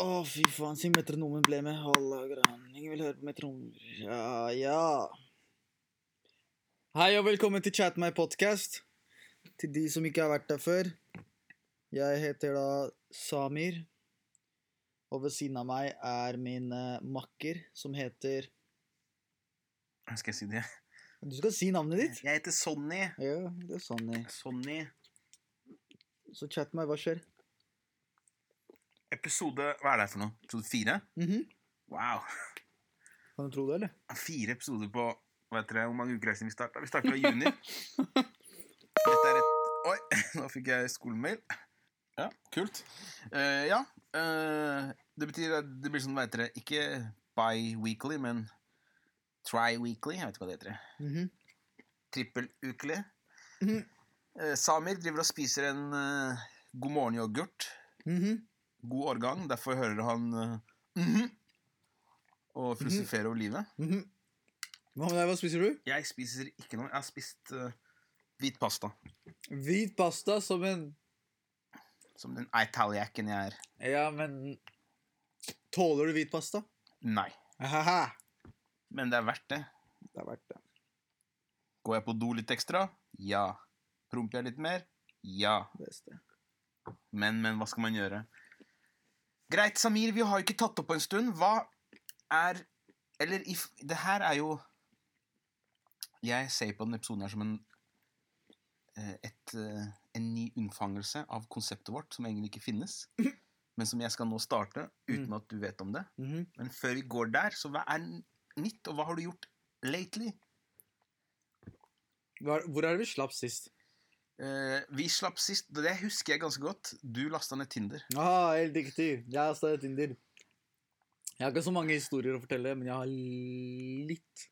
Å, fy faen, si metronomen ble med. Halla grann. Ingen vil høre på metronomer. Ja, ja. Hei og velkommen til Chat meg podcast. Til de som ikke har vært der før. Jeg heter da Samir. Og ved siden av meg er min eh, makker som heter Skal jeg si det? Du skal si navnet ditt? Jeg heter Sonny. Ja, det er sånn. jeg- Sonny. Så chat meg, hva skjer? Episode Hva er det for noe? Episode fire? Mhm. Wow. Kan du tro det, eller? Fire episoder på hva heter det, Hvor mange uker er det siden vi starta? Vi starta i juni. Dette er et Oi, nå fikk jeg skolemail. Ja, kult. Eh, ja. eh, det betyr at det blir sånn, hva heter det, ikke bi-weekly, men tri-weekly. Jeg vet ikke hva det heter. Mhm. Trippel-ukelig. Mhm. Eh, Samir driver og spiser en eh, god morgen-yoghurt. Mhm. god årgang. Derfor hører han eh, «Mhm» og filosoferer over livet. Mhm. Hva med deg, hva spiser du? Jeg spiser ikke noe. Jeg har spist eh, hvit pasta. Hvit pasta som en Som den italiakken jeg er. Ja, men Tåler du hvit pasta? Nei. Haha. Men det er verdt det. Det er verdt det. Går jeg på do litt ekstra? Ja. Promper jeg litt mer? Ja. Beste. Men, men, hva skal man gjøre? Greit, Samir, vi har jo ikke tatt opp på en stund. Hva er Eller if, det her er jo Jeg ser på den episoden her som en eh, et, eh, en ny unnfangelse av konseptet vårt, som egentlig ikke finnes. Men som jeg skal nå starte, uten at du vet om det. Mhm. Men før vi går der, så hva er nytt, og hva har du gjort lately? Hva er- Hvor er det vi slapp sist? Eh, vi slapp sist, det husker jeg ganske godt. Du lasta ned Tinder. Ah, helt riktig. Jeg har startet Tinder. Jeg har ikke så mange historier å fortelle, men jeg har litt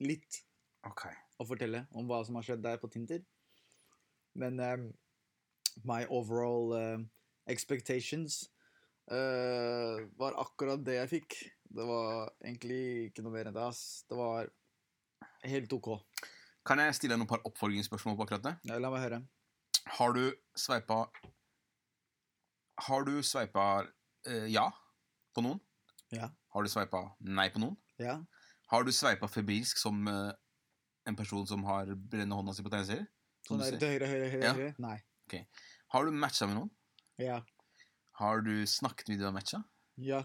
Litt Ok. å fortelle om hva som har skjedd der på Tinder. Men eh, my overall eh, expectations eh, var akkurat det jeg fikk. Det var egentlig ikke noe mer enn det. ass. Det var helt OK. Kan jeg stille deg noen par oppfølgingsspørsmål på akkurat det? Ja, la meg høre. Har du sveipa Har du sveipa eh, ja på noen? Ja. Har du sveipa nei på noen? Ja. Har du sveipa febrilsk som eh, en person som har brenner hånda si på tegneserier? Sånn Som du der sier? til høyre, høyre, høyre. Ja. høyre. Nei. Har du matcha med noen? Ja. Har du snakket med de du har matcha? Ja.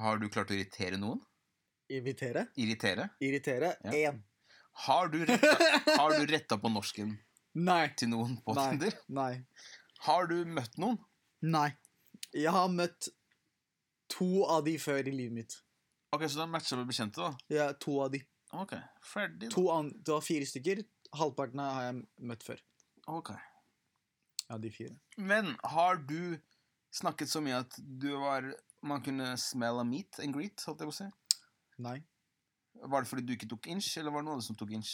Har du klart å irritere noen? Invitere. Irritere? Irritere. Ja. Én. Har du retta, har du retta på norsken Nei. til noen på Nei. Tinder? Nei. Har du møtt noen? Nei. Jeg har møtt to av de før i livet mitt. Ok, Så du har matcha med bekjente, da? Ja, to av de. Ok, ferdig da. To an det var fire stykker. Halvparten har jeg møtt før. Ok. Ja, de fire. Men har du snakket så mye at du var Man kunne smell a meat and greet, holdt jeg på å si? Nei. Var det fordi du ikke tok inch, eller var det noen andre som tok inch?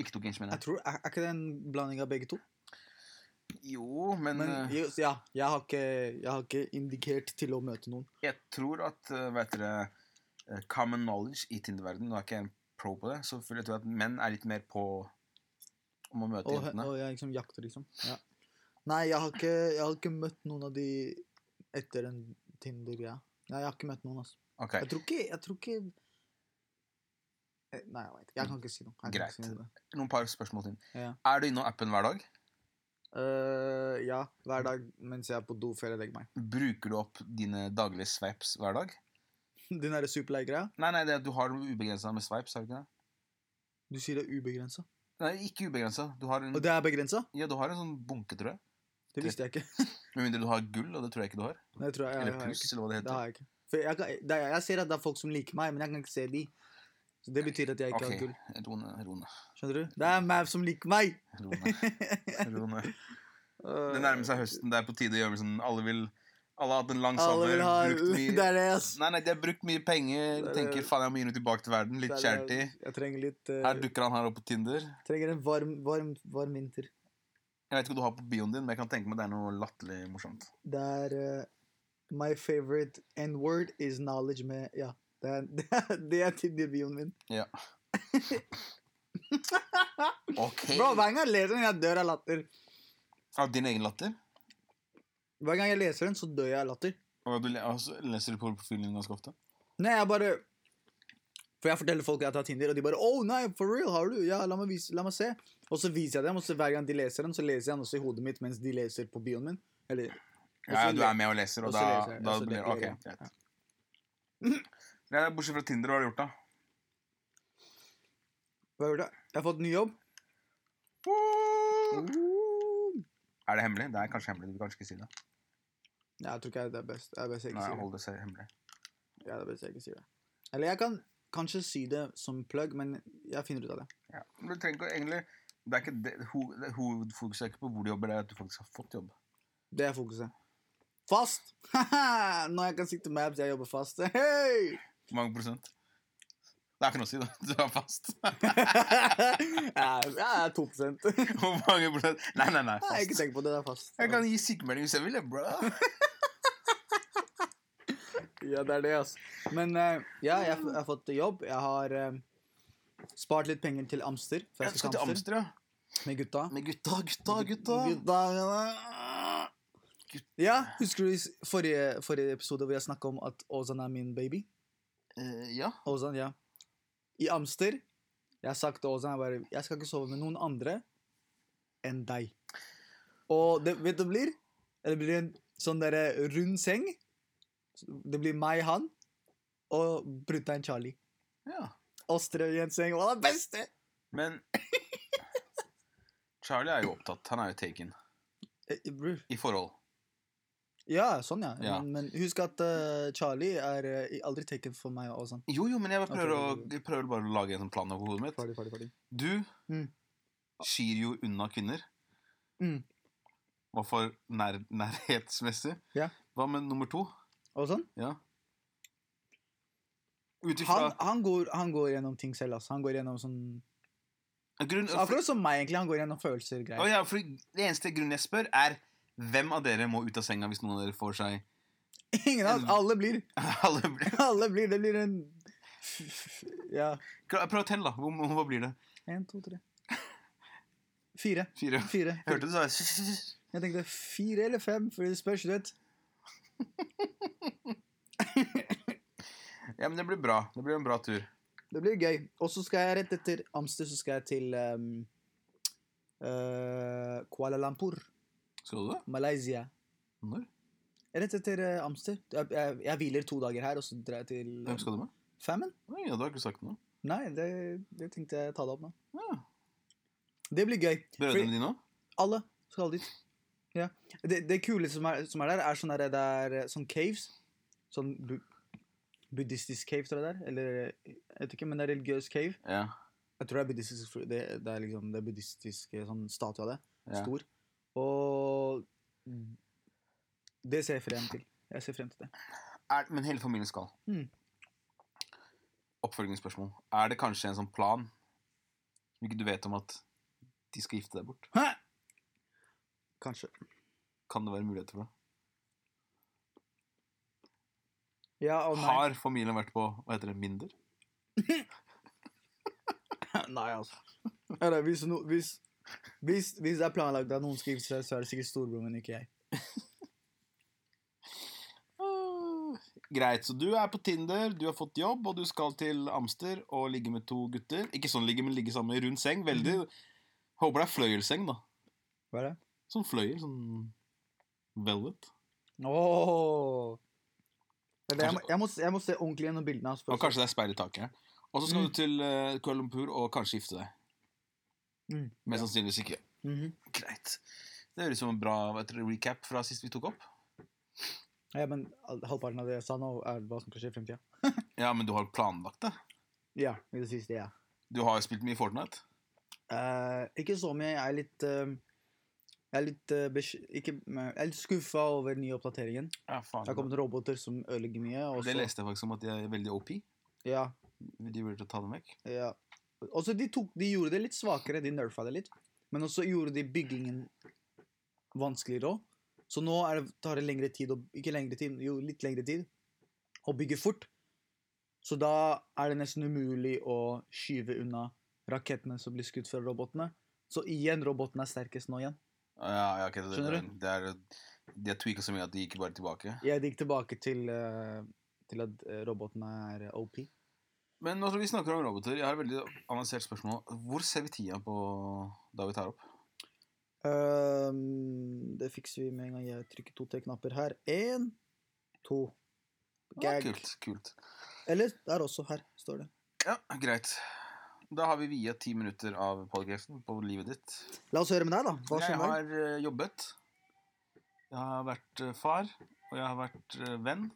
Ikke tok inch, mener Jeg jeg. tror, Er, er ikke det en blanding av begge to? Jo, men, Men eh, jo, ja, jeg har, ikke, jeg har ikke indikert til å møte noen. jeg tror at eh, Hva heter det eh, Common knowledge i Tinder-verdenen, nå er ikke jeg en pro på det, så føler jeg tror at menn er litt mer på om å møte Og, jentene. og jeg liksom jakter, liksom. Ja. Nei, jeg har, ikke, jeg har ikke møtt noen av de etter en Tinder-greia. Nei, jeg har ikke møtt noen, altså. Ok, Jeg tror ikke Jeg tror ikke Eh, Nei, jeg vet ikke. Jeg kan ikke si noe. Jeg kan Greit. Ikke si noe om det. Noen par spørsmål til. Ja. Er du innom appen hver dag? Eh, ja, hver dag mens jeg er på do før jeg legger meg. Bruker du opp dine daglige swipes hver dag? Den derre superleie-greia. Nei, nei, det er at du har ubegrensa med swipes, har du ikke det? Du sier det er ubegrensa. Nei, ikke ubegrensa. Du, har en- Og det er begrensa? ja, du har en sånn bunke, tror jeg. Det visste jeg ikke. Med mindre du har gull, og det tror jeg ikke du har. Det tror jeg, jeg, Eller har pluss, ikke. eller hva det Det heter. har jeg ikke. For jeg, kan, det, er- jeg ser at det er folk som liker meg, men jeg kan ikke se de. Så Det betyr at jeg ikke Ok, har gull. Rone, Rone. Skjønner du? Det er Mav som liker meg! Rone. Rone. Øh, Det nærmer seg høsten. Det er på tide å gjøre sånn Alle vil Alle har hatt en lang Alle sommer. vil ha Brukt Det mye er det, ass. Nei, nei, de har brukt mye penger. Det er- Tenker faen, jeg må gi noe tilbake til verden. Litt Det er det, charity. ass. Jeg trenger litt øh, Her dukker han her opp på Tinder. Trenger en varm, varm, varm vinter. Jeg vet ikke hva du har på bioen din, men jeg kan tenke meg det er noe latterlig morsomt. Det er eh, My favorite n-word is knowledge med Ja. Det er, det er, det er Tinder-bioen min. Ja. Ok. Bro, Hver gang jeg leser den, jeg dør av latter. Av din egen latter? Hver gang jeg leser den, så dør jeg av latter. Og du le- og så leser du på profilen din ganske ofte? Nei, jeg bare For jeg forteller folk at jeg tar Tinder, og de bare 'Oh, nei, for real, har du?' Ja, la meg, vise, la meg se. Og så viser jeg dem, og så hver gang de leser den, så leser jeg den også i hodet mitt mens de leser på bioen min. Eller Og så Ja, du le- er med og leser, og og, så da, leser jeg, da og så blir leker Ok, jeg, greit. Ja, bortsett fra Tinder, hva har du gjort, da? Hva gjør du? Jeg har fått ny jobb. Er det hemmelig? Det er kanskje hemmelig. Du kan ikke si det. Nei, jeg tror ikke jeg det er best. Det er best jeg ikke Nei, sier det. hold det selv hemmelig. Ja, det er best jeg ikke sier det. Eller jeg kan kanskje si det som plug, men jeg finner ut av det. Ja. Men Du trenger ikke å- egentlig det er ikke det, ho, det, Hovedfokuset er ikke på hvor du jobber, det er at du faktisk har fått jobb. Det er fokuset. Fast! Haha, Nå jeg kan sikte maps, jeg jobber fast. Hei! Hvor mange prosent? Det er ikke noe å si, da. Du er fast. jeg jeg er 2 Nei, Hvor mange prosent? Nei, nei, nei. Jeg har ikke Fast. tenkt på det. Det er fast. Jeg kan gi sykemelding hvis jeg vil, jeg, bro. Ja, det er det, altså. Men eh, ja, jeg, f- jeg har fått jobb. Jeg har eh, spart litt penger til Amster. For Jeg skal til Amster, ja. Amster med gutta. Med gutta, gutta, gutta. Gutta. Ja, husker du i s- forrige, forrige episode hvor jeg snakka om at Ozan er min baby? Eh, ja. Ozan, ja. I Amster. Jeg har sagt til Ozan jeg bare Jeg skal ikke sove med noen andre enn deg. Og det, vet du hva det blir? Det blir en sånn derre rund seng. Det blir meg, han, og brutter'n Charlie. ja. Oss tre i en seng. Hva er det beste? Men Charlie er jo opptatt. Han er jo taken. Eh, bror. I forhold. Ja, sånn, ja. Ja. Men, men husk at eh, Charlie er eh, aldri taken for meg og Ozan. Jo, jo, men jeg bare prøver, Ok, å, jeg prøver bare å lage en sånn plan over hodet mitt. Ferdig, ferdig, ferdig. Du Mm. skyr jo unna kvinner. Mm. Hva for nær, nærhetsmessig. Ja. Hva med nummer to? Ozan? Ja. Ut han, ifra han, går, han går gjennom ting selv, ass. Han går gjennom sånn Grunn- så Akkurat som meg, egentlig. Han går gjennom følelser og Å greier. ja, for Det eneste grunnen jeg spør, er hvem av dere må ut av senga hvis noen av dere får seg Ingen av oss. Alle blir. Alle blir Alle blir. Det blir en Ja. Prøv å telle, da. Hvor, hvor- hva blir det? Én, to, tre. Fire. Fire? Fire. Jeg hørte du sa Jeg tenkte fire eller fem, for det spørs, du vet. Ja, men det blir bra. Det blir en bra tur. Det blir gøy. Og så skal jeg rett etter Amster så skal jeg til ehm, eh, Kuala Lumpur, Skal du det? Malaysia. Når? Rett etter eh, Amster. Jeg, jeg, jeg hviler to dager her, og så drar jeg til Hvem skal du med? Famine. Oi, ja, du har ikke sagt noe. Nei, det, det tenkte jeg ta det opp med. Ja. Det blir gøy. Brødrene Fordi dine òg? alle skal dit. Ja. Det, det kule som er, som er der, er sånn der, det er eh, sånn caves. Sånn bu buddhistisk cave, tror jeg det er. Eller eh, jeg vet ikke, men det er religiøs cave. Ja. Jeg tror det er buddhistisk for Det, det er liksom det buddhistiske sånn statue av det. ja. Stor. Og det ser jeg frem til. Jeg ser frem til det. Er, men hele familien skal. Mm. Oppfølgingsspørsmål. Er det kanskje en sånn plan som ikke du vet om at de skal gifte deg bort? Hæ? Kanskje. Kan det være muligheter for det? Ja og nei. Har familien vært på hva heter det, Minder? Nei, altså. Eller, hvis, no, hvis, hvis, hvis det er planlagt at noen skal gifte seg, så er det sikkert storebroren min, ikke jeg. Greit, så du er på Tinder, du har fått jobb, og du skal til Amster og ligge med to gutter. Ikke sånn ligge, men ligge sammen i rund seng. Veldig Håper det er fløyelseng, da. Hva er det? Sånn fløyel. Sånn velvet. Åh! Eller, jeg, må- Kanskje- jeg, må, se- jeg må se ordentlig gjennom bildene hans. for å Og kanskje det er speil i taket. her. Og så skal Mm. du til eh, Kuala Lumpur og kanskje gifte deg. Mm, Mest sannsynligvis ikke. se. Mhm. Greit. Det høres ut som en bra hva heter det, recap fra sist vi tok opp. Ja, men al- halvparten av det jeg sa nå, er hva som kan skje i fremtida. Ja, men du har planlagt det. Ja, i det siste, ja. Du har spilt mye Fortnite. Eh, ikke så mye. Jeg er litt eh, Jeg er litt, uh, ikke, men jeg er litt skuffa over den nye oppdateringen. Det Ja, faen. har kommet roboter som ødelegger mye. Og Det så, leste jeg faktisk om at de er veldig OP. ja, De burde ta dem vekk. Ja. Også de, tok, de gjorde det litt svakere, de nerfa det litt. Men også gjorde de byggingen vanskeligere òg. Så nå er det, tar det lengre tid, å, ikke lengre tid, jo litt lengre tid, å bygge fort. Så da er det nesten umulig å skyve unna rakettene som blir skutt fra robotene. Så igjen, robotene er sterkest nå igjen. Ja, ja, ok, det, Skjønner det, det er De har tweaka så mye at de gikk bare tilbake. Jeg gikk tilbake til, eh, til at eh, robotene er OP. Men når vi snakker om roboter, jeg har et veldig avansert spørsmål. Hvor ser vi tida på da vi tar opp? Ehm, det fikser vi med en gang jeg trykker to-tre knapper her. Én, to. Ja, Gag. kult, kult. Eller der også. Her står det. Ja, greit. Da har vi viet ti minutter av podcasten på livet ditt. La oss høre med deg, da. Hva Jeg skjer med deg? har eh, jobbet. Jeg har vært eh, far, og jeg har vært eh, venn.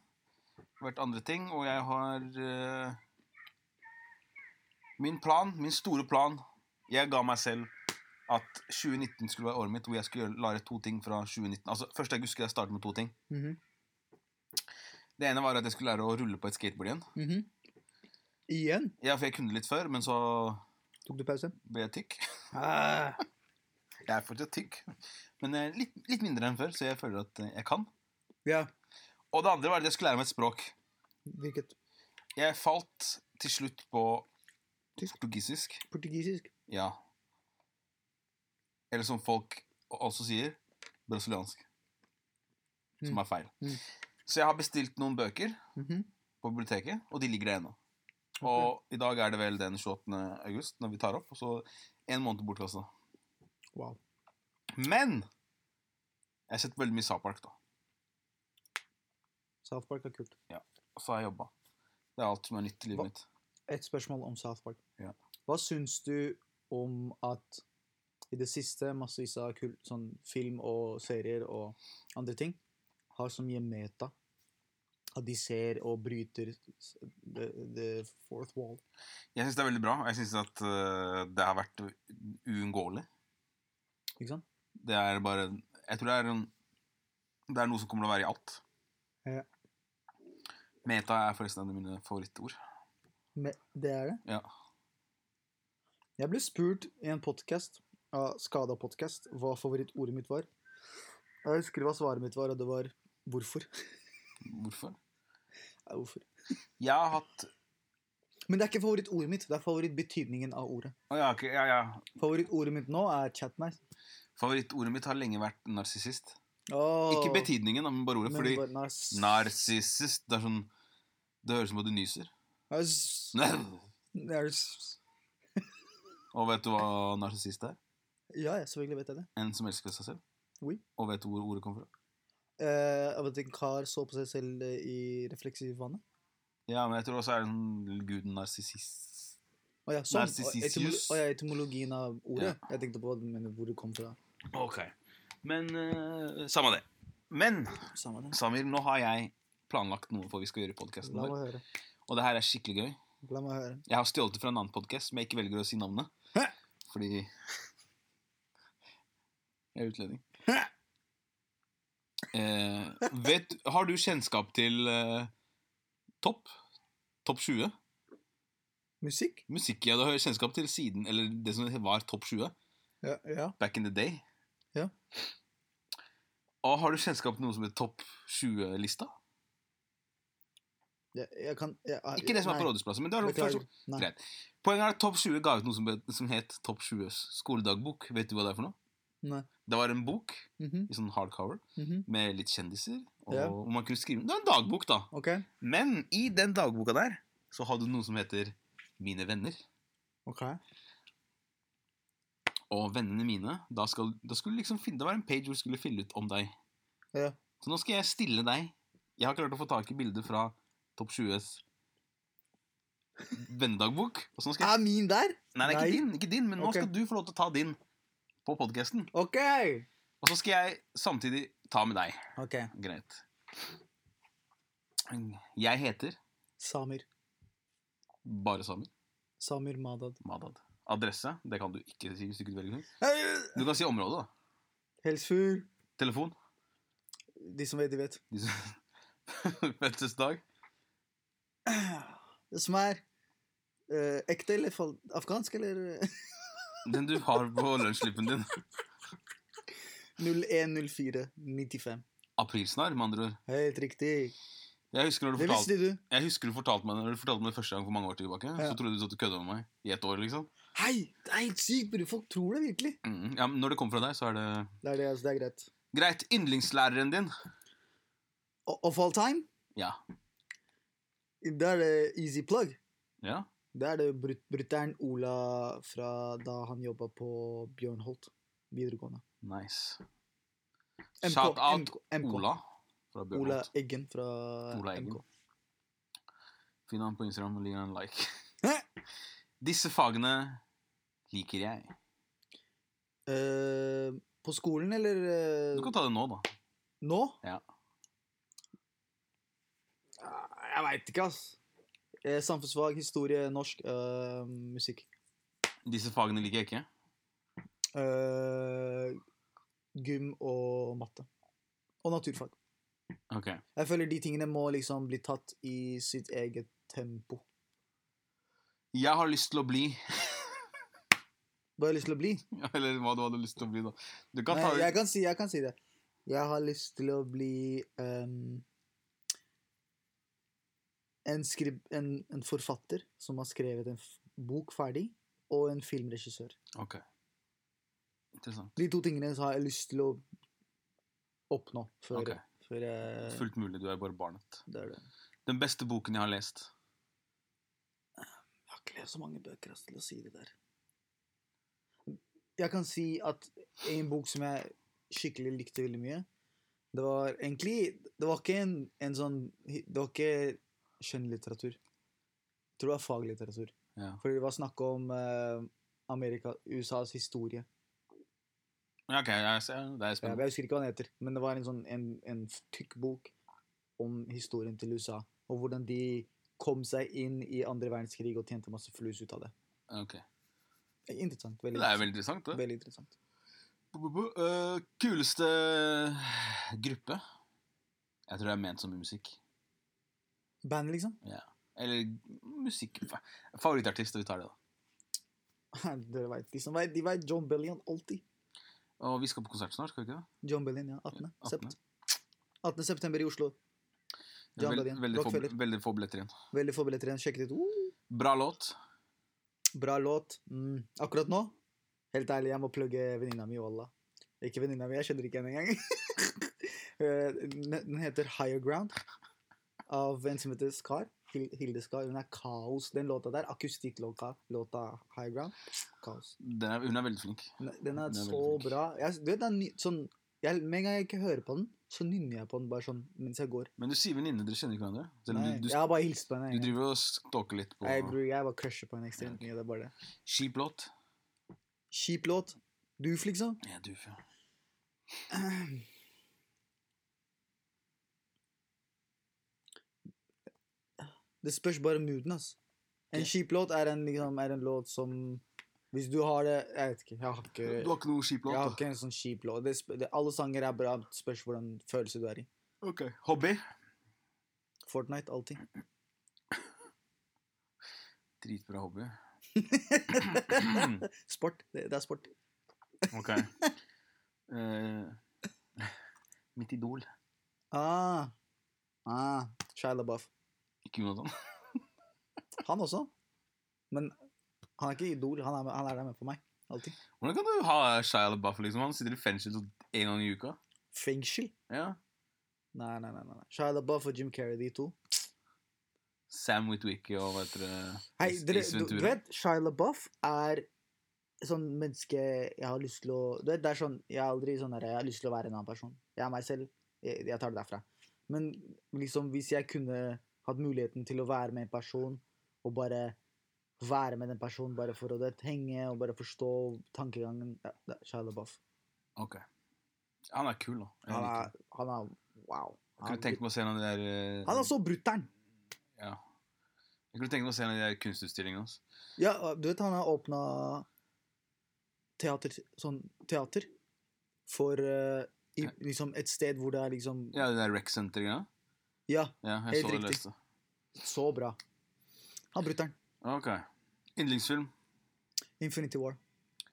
Vært andre ting, og jeg har eh, Min plan, min store plan Jeg ga meg selv at 2019 skulle være året mitt hvor jeg skulle gjøre- lage to ting fra 2019. Altså, 1. august skulle jeg starte med to ting. Mhm, Det ene var at jeg skulle lære å rulle på et skateboard igjen. mhm. Igjen? Ja, for jeg kunne litt før, men så Tok du pause? ble jeg tykk. Ah. Jeg er fortsatt tykk, men eh, litt, litt mindre enn før, så jeg føler at eh, jeg kan. Ja. Og det andre var at jeg skulle lære meg et språk. Hvilket? Jeg falt til slutt på Tysk. portugisisk. Portugisisk? Ja. Eller som folk også sier, brasiliansk. Som Mm. er feil. Mm. Så jeg har bestilt noen bøker Mhm. på biblioteket, og de ligger der ennå. Og i dag er det vel den 28. august når vi tar opp, og så en måned bortkasta. Wow. Men jeg har sett veldig mye South Park, da. South Park er kult. Og så har jeg jobba. Det er alt som er nytt i Hva- livet mitt. Et spørsmål om South Park. Ja. Hva syns du om at i det siste massevis av kul, sånn film og serier og andre ting har så mye meta? At de ser og bryter s- the, the fourth wall. Jeg syns det er veldig bra, og jeg syns at øh, det har vært u- uunngåelig. Ikke sant? Det er bare Jeg tror det er en, Det er noe som kommer til å være i alt. Ja. Meta er forresten en av mine favorittord. Me- det er det. Ja. Jeg ble spurt i en podkast, av Skada podkast, hva favorittordet mitt var. Jeg husker hva svaret mitt var, og det var 'hvorfor'. Hvorfor? Ja, hvorfor? Jeg har hatt Men det er ikke favorittordet mitt, det er favorittbetydningen av ordet. Å ja, ok, ja, ja. Favorittordet mitt nå er chatnice. Favorittordet mitt har lenge vært narsissist. Oh, Ikke betydningen, men bare ordet. Fordi Nars. narsissist Det er sånn Det høres ut som at du nyser. Nars. Nars. Og vet du hva narsissist er? Ja, ja, selvfølgelig vet jeg det. En som elsker seg selv. Oui. Og vet du hvor ordet kommer fra? Eh, av at en kar så på seg selv eh, i refleksivvannet. Ja, men jeg tror også er det sånn guden narsissist Å ja, sånn. Å, Narcississus. etymolo- å ja, etymologien av ordet. Jeg tenkte på men hvor det kom fra. Ok. Men eh, Samme det. Men Samme det. Samir, nå har jeg planlagt noe for vi skal gjøre i podkasten La vår. meg høre. Og det her er skikkelig gøy. La meg høre. Jeg har stjålet det fra en annen podkast, men jeg ikke velger å si navnet. Hæ? Fordi Jeg er utlending. Hæ? Eh, vet, har du kjennskap til eh, Topp? Topp 20? Musikk? Musikk jeg har kjennskap til siden Eller det som var Topp 20 Ja. ja. back in the day. Ja. Og har du kjennskap til noe som heter Topp 20-lista? Jeg, jeg kan jeg, jeg, Ikke det som er nei, på Rådhusplassen, men det har du beklager. først Nei. Greit. Poenget er at Topp 20 ga ut noe som, be- som het Topp 20s skoledagbok. Vet du hva det er for noe? Nei. Det var en bok Mhm, i sånn hardcover mhm. med litt kjendiser. Og Ja. hvor man kunne skrive Det var en dagbok, da. OK. Men i den dagboka der så hadde du noe som heter Mine venner. ok. Og vennene mine Da, skal, da skulle du liksom finne, det var en page hvor du skulle fylle ut om deg. Ja. Så nå skal jeg stille deg Jeg har klart å få tak i bilder fra Topp 20s vennedagbok. Og så nå skal jeg Er min der? Nei, det er ikke Ah, Nei. din, ikke din men nå Ok. skal du få lov til å ta din på podkasten. OK! Og så skal jeg samtidig ta med deg. Ok, Greit. Jeg heter Samir. bare Samir Samir Madad. Madad. Adresse, det kan du ikke si. hvis Du ikke velger. Hei! Du kan si område, da. Helsfyr. Telefon. De som vet, de vet. De som- Fødselsdag. Det som er eh, ekte eller fal- afghansk, eller eh, Den du har på lønnsslippen din. 010495. Aprilsnarr, med andre ord. Helt riktig. Jeg husker, når du Det fortalte, visste du. jeg husker du fortalte meg når du fortalte meg det første gang for mange år tilbake. Ja. Så trodde du at du kødda med meg i et år, liksom. Hei, det er helt sykt, bro. Folk tror det virkelig. Mm, Ja, men når det kommer fra deg, så er det Det er det, altså. Det er greit. Greit. Yndlingslæreren din? O- Of all time? Ja. Da er det easy plug. Ja. Da er det brut brutter'n Ola fra da han jobba på Bjørnholt videregående. Nice. MK, Shout out MK, MK. Ola fra Ola Bjørnholt. Eggen fra Ola Eggen. MK. Finn han på Instagram og gi han en like. Hæ? Disse fagene liker jeg. Eh, på skolen, eller eh, Du kan ta det nå, da. nå? Ja. Eh, Jeg veit ikke, ass. Eh, Samfunnsfag, historie, norsk, eh, musikk. Disse fagene liker jeg ikke. Eh, gym og matte. Og naturfag. Ok. Jeg føler de tingene må liksom bli tatt i sitt eget tempo. Jeg har lyst til å bli Hva har jeg lyst til å bli? Eller hva du hadde lyst til å bli, da. Du kan ta Nei, det jeg, kan si, jeg kan si det. Jeg har lyst til å bli ehm, en, skrib en, en forfatter som har skrevet en f bok ferdig, og en filmregissør. Ok. Interessant. De to tingene så har jeg lyst til å oppnå før, Ok. før jeg Fullt mulig. Du er bare barnet. det er det. Den beste boken jeg har lest. Jeg har ikke lest så mange bøker ass, til å si det der. Jeg kan si at en bok som jeg skikkelig likte veldig mye Det var egentlig Det var ikke en, en sånn Det var ikke skjønnlitteratur. Jeg tror det var faglitteratur. Ja. Fordi det var snakk om eh, Amerika, USAs historie. Ja, Ok, jeg ser. Det er Jeg, spennende. jeg husker ikke hva den heter, men det var en sånn en, en tykk bok om historien til USA. Og hvordan de kom seg inn i andre verdenskrig og tjente masse flus ut av det. Ok. Interessant. Veldig Det er jo veldig interessant, det. Veldig interessant. Bu- bu- bu- øh, kuleste gruppe? Jeg tror det er ment som musikk. Band, liksom? Eller musikk fa- Favorittartist, og vi tar det, da. Dere vet, de som vet, de vet John Bellion alltid. Og vi skal på konsert snart, skal vi ikke det? John Bellion, ja. 18. 18.. Sept. 18. september i Oslo. Det er John vel- Bedin, veldig, få, Rockefeller. veldig få billetter igjen. Veldig få billetter igjen. Sjekk det ut. Uh, Bra låt. bra låt. Mm. Akkurat nå, helt ærlig, jeg må plugge venninna mi, Walla. Ikke venninna mi, jeg kjenner ikke henne engang. Eh, den- den heter Higher Ground av en som heter Skar. Hil- Hilde Skar. Hun er kaos. Den låta der, akustikklåta låta Higher Ground, kaos. Den er, hun er veldig flink. Ne- Den er, Den er veldig så flink. bra. Jeg, du vet, den, er ny- sånn, jeg, med en gang jeg ikke hører på den, så nynner jeg på den bare sånn mens jeg går. Men du sier venninne, dere kjenner ikke hverandre? Selv om Nei, du, du, jeg har bare hilst på henne. du en gang. driver og stalker litt Jeg, på bru- jeg bare crusher på henne ekstremt Ja, mye. Det er bare det. Kjip låt. Kjip låt. Doof, liksom. Ja, du, ja. Det spørs bare mooden, ass. En Ja. kjip låt er en, liksom, er en låt som Hvis du har det Jeg vet ikke. Jeg har ikke, Du har ikke noe kjip jeg har låt? da? ikke en sånn kjip låt. Det, sp- det, alle sanger er bra. Det spørs hvordan følelse du er i. Ok. Hobby? Fortnite, alltid. Dritbra hobby. Sport. Det, det er sport. Mm, Ok. Eh, mitt idol. Ah. Ah. Shia LaBeouf. Ikke Jonathan. Han også. Men han er ikke idol. Han er, med, han er der med på meg. Alltid. Hvordan kan du ha Shia LaBeouf? Liksom? Han sitter i fengsel så en gang i uka. Fengsel? Ja. Nei, nei, nei. nei. nei. Shia LaBeouf og Jim Carrey, de to. Sam Witwicky og hva heter det Hei, Ace- dere, Ace du, du Ventura. vet, Shia LaBeouf er sånn menneske jeg har lyst til å Du vet, det er sånn Jeg er aldri sånn der Jeg har lyst til å være en annen person. Jeg er meg selv. Jeg, jeg tar det derfra. Men liksom, hvis jeg kunne hatt muligheten til å være med en person og bare være med den personen bare for å du vet, henge og bare forstå tankegangen ja, det er Shia LaBeouf. Ok. Han er kul, da. Jeg Han liker er, han er Wow. Jeg kunne tenkt meg å se en av de der eh, Han er så brutter'n. ja. Jeg kunne tenkt meg å se en av de der kunstutstillingene hans. Ja, du vet han har åpna teater, sånn teater for eh, i, Ja. liksom et sted hvor det er liksom Ja, det der Rec Center-greia. Ja, Ja, jeg Helt så det riktig. leste. så bra. Han brutter'n. Ok. Yndlingsfilm? Infinity War.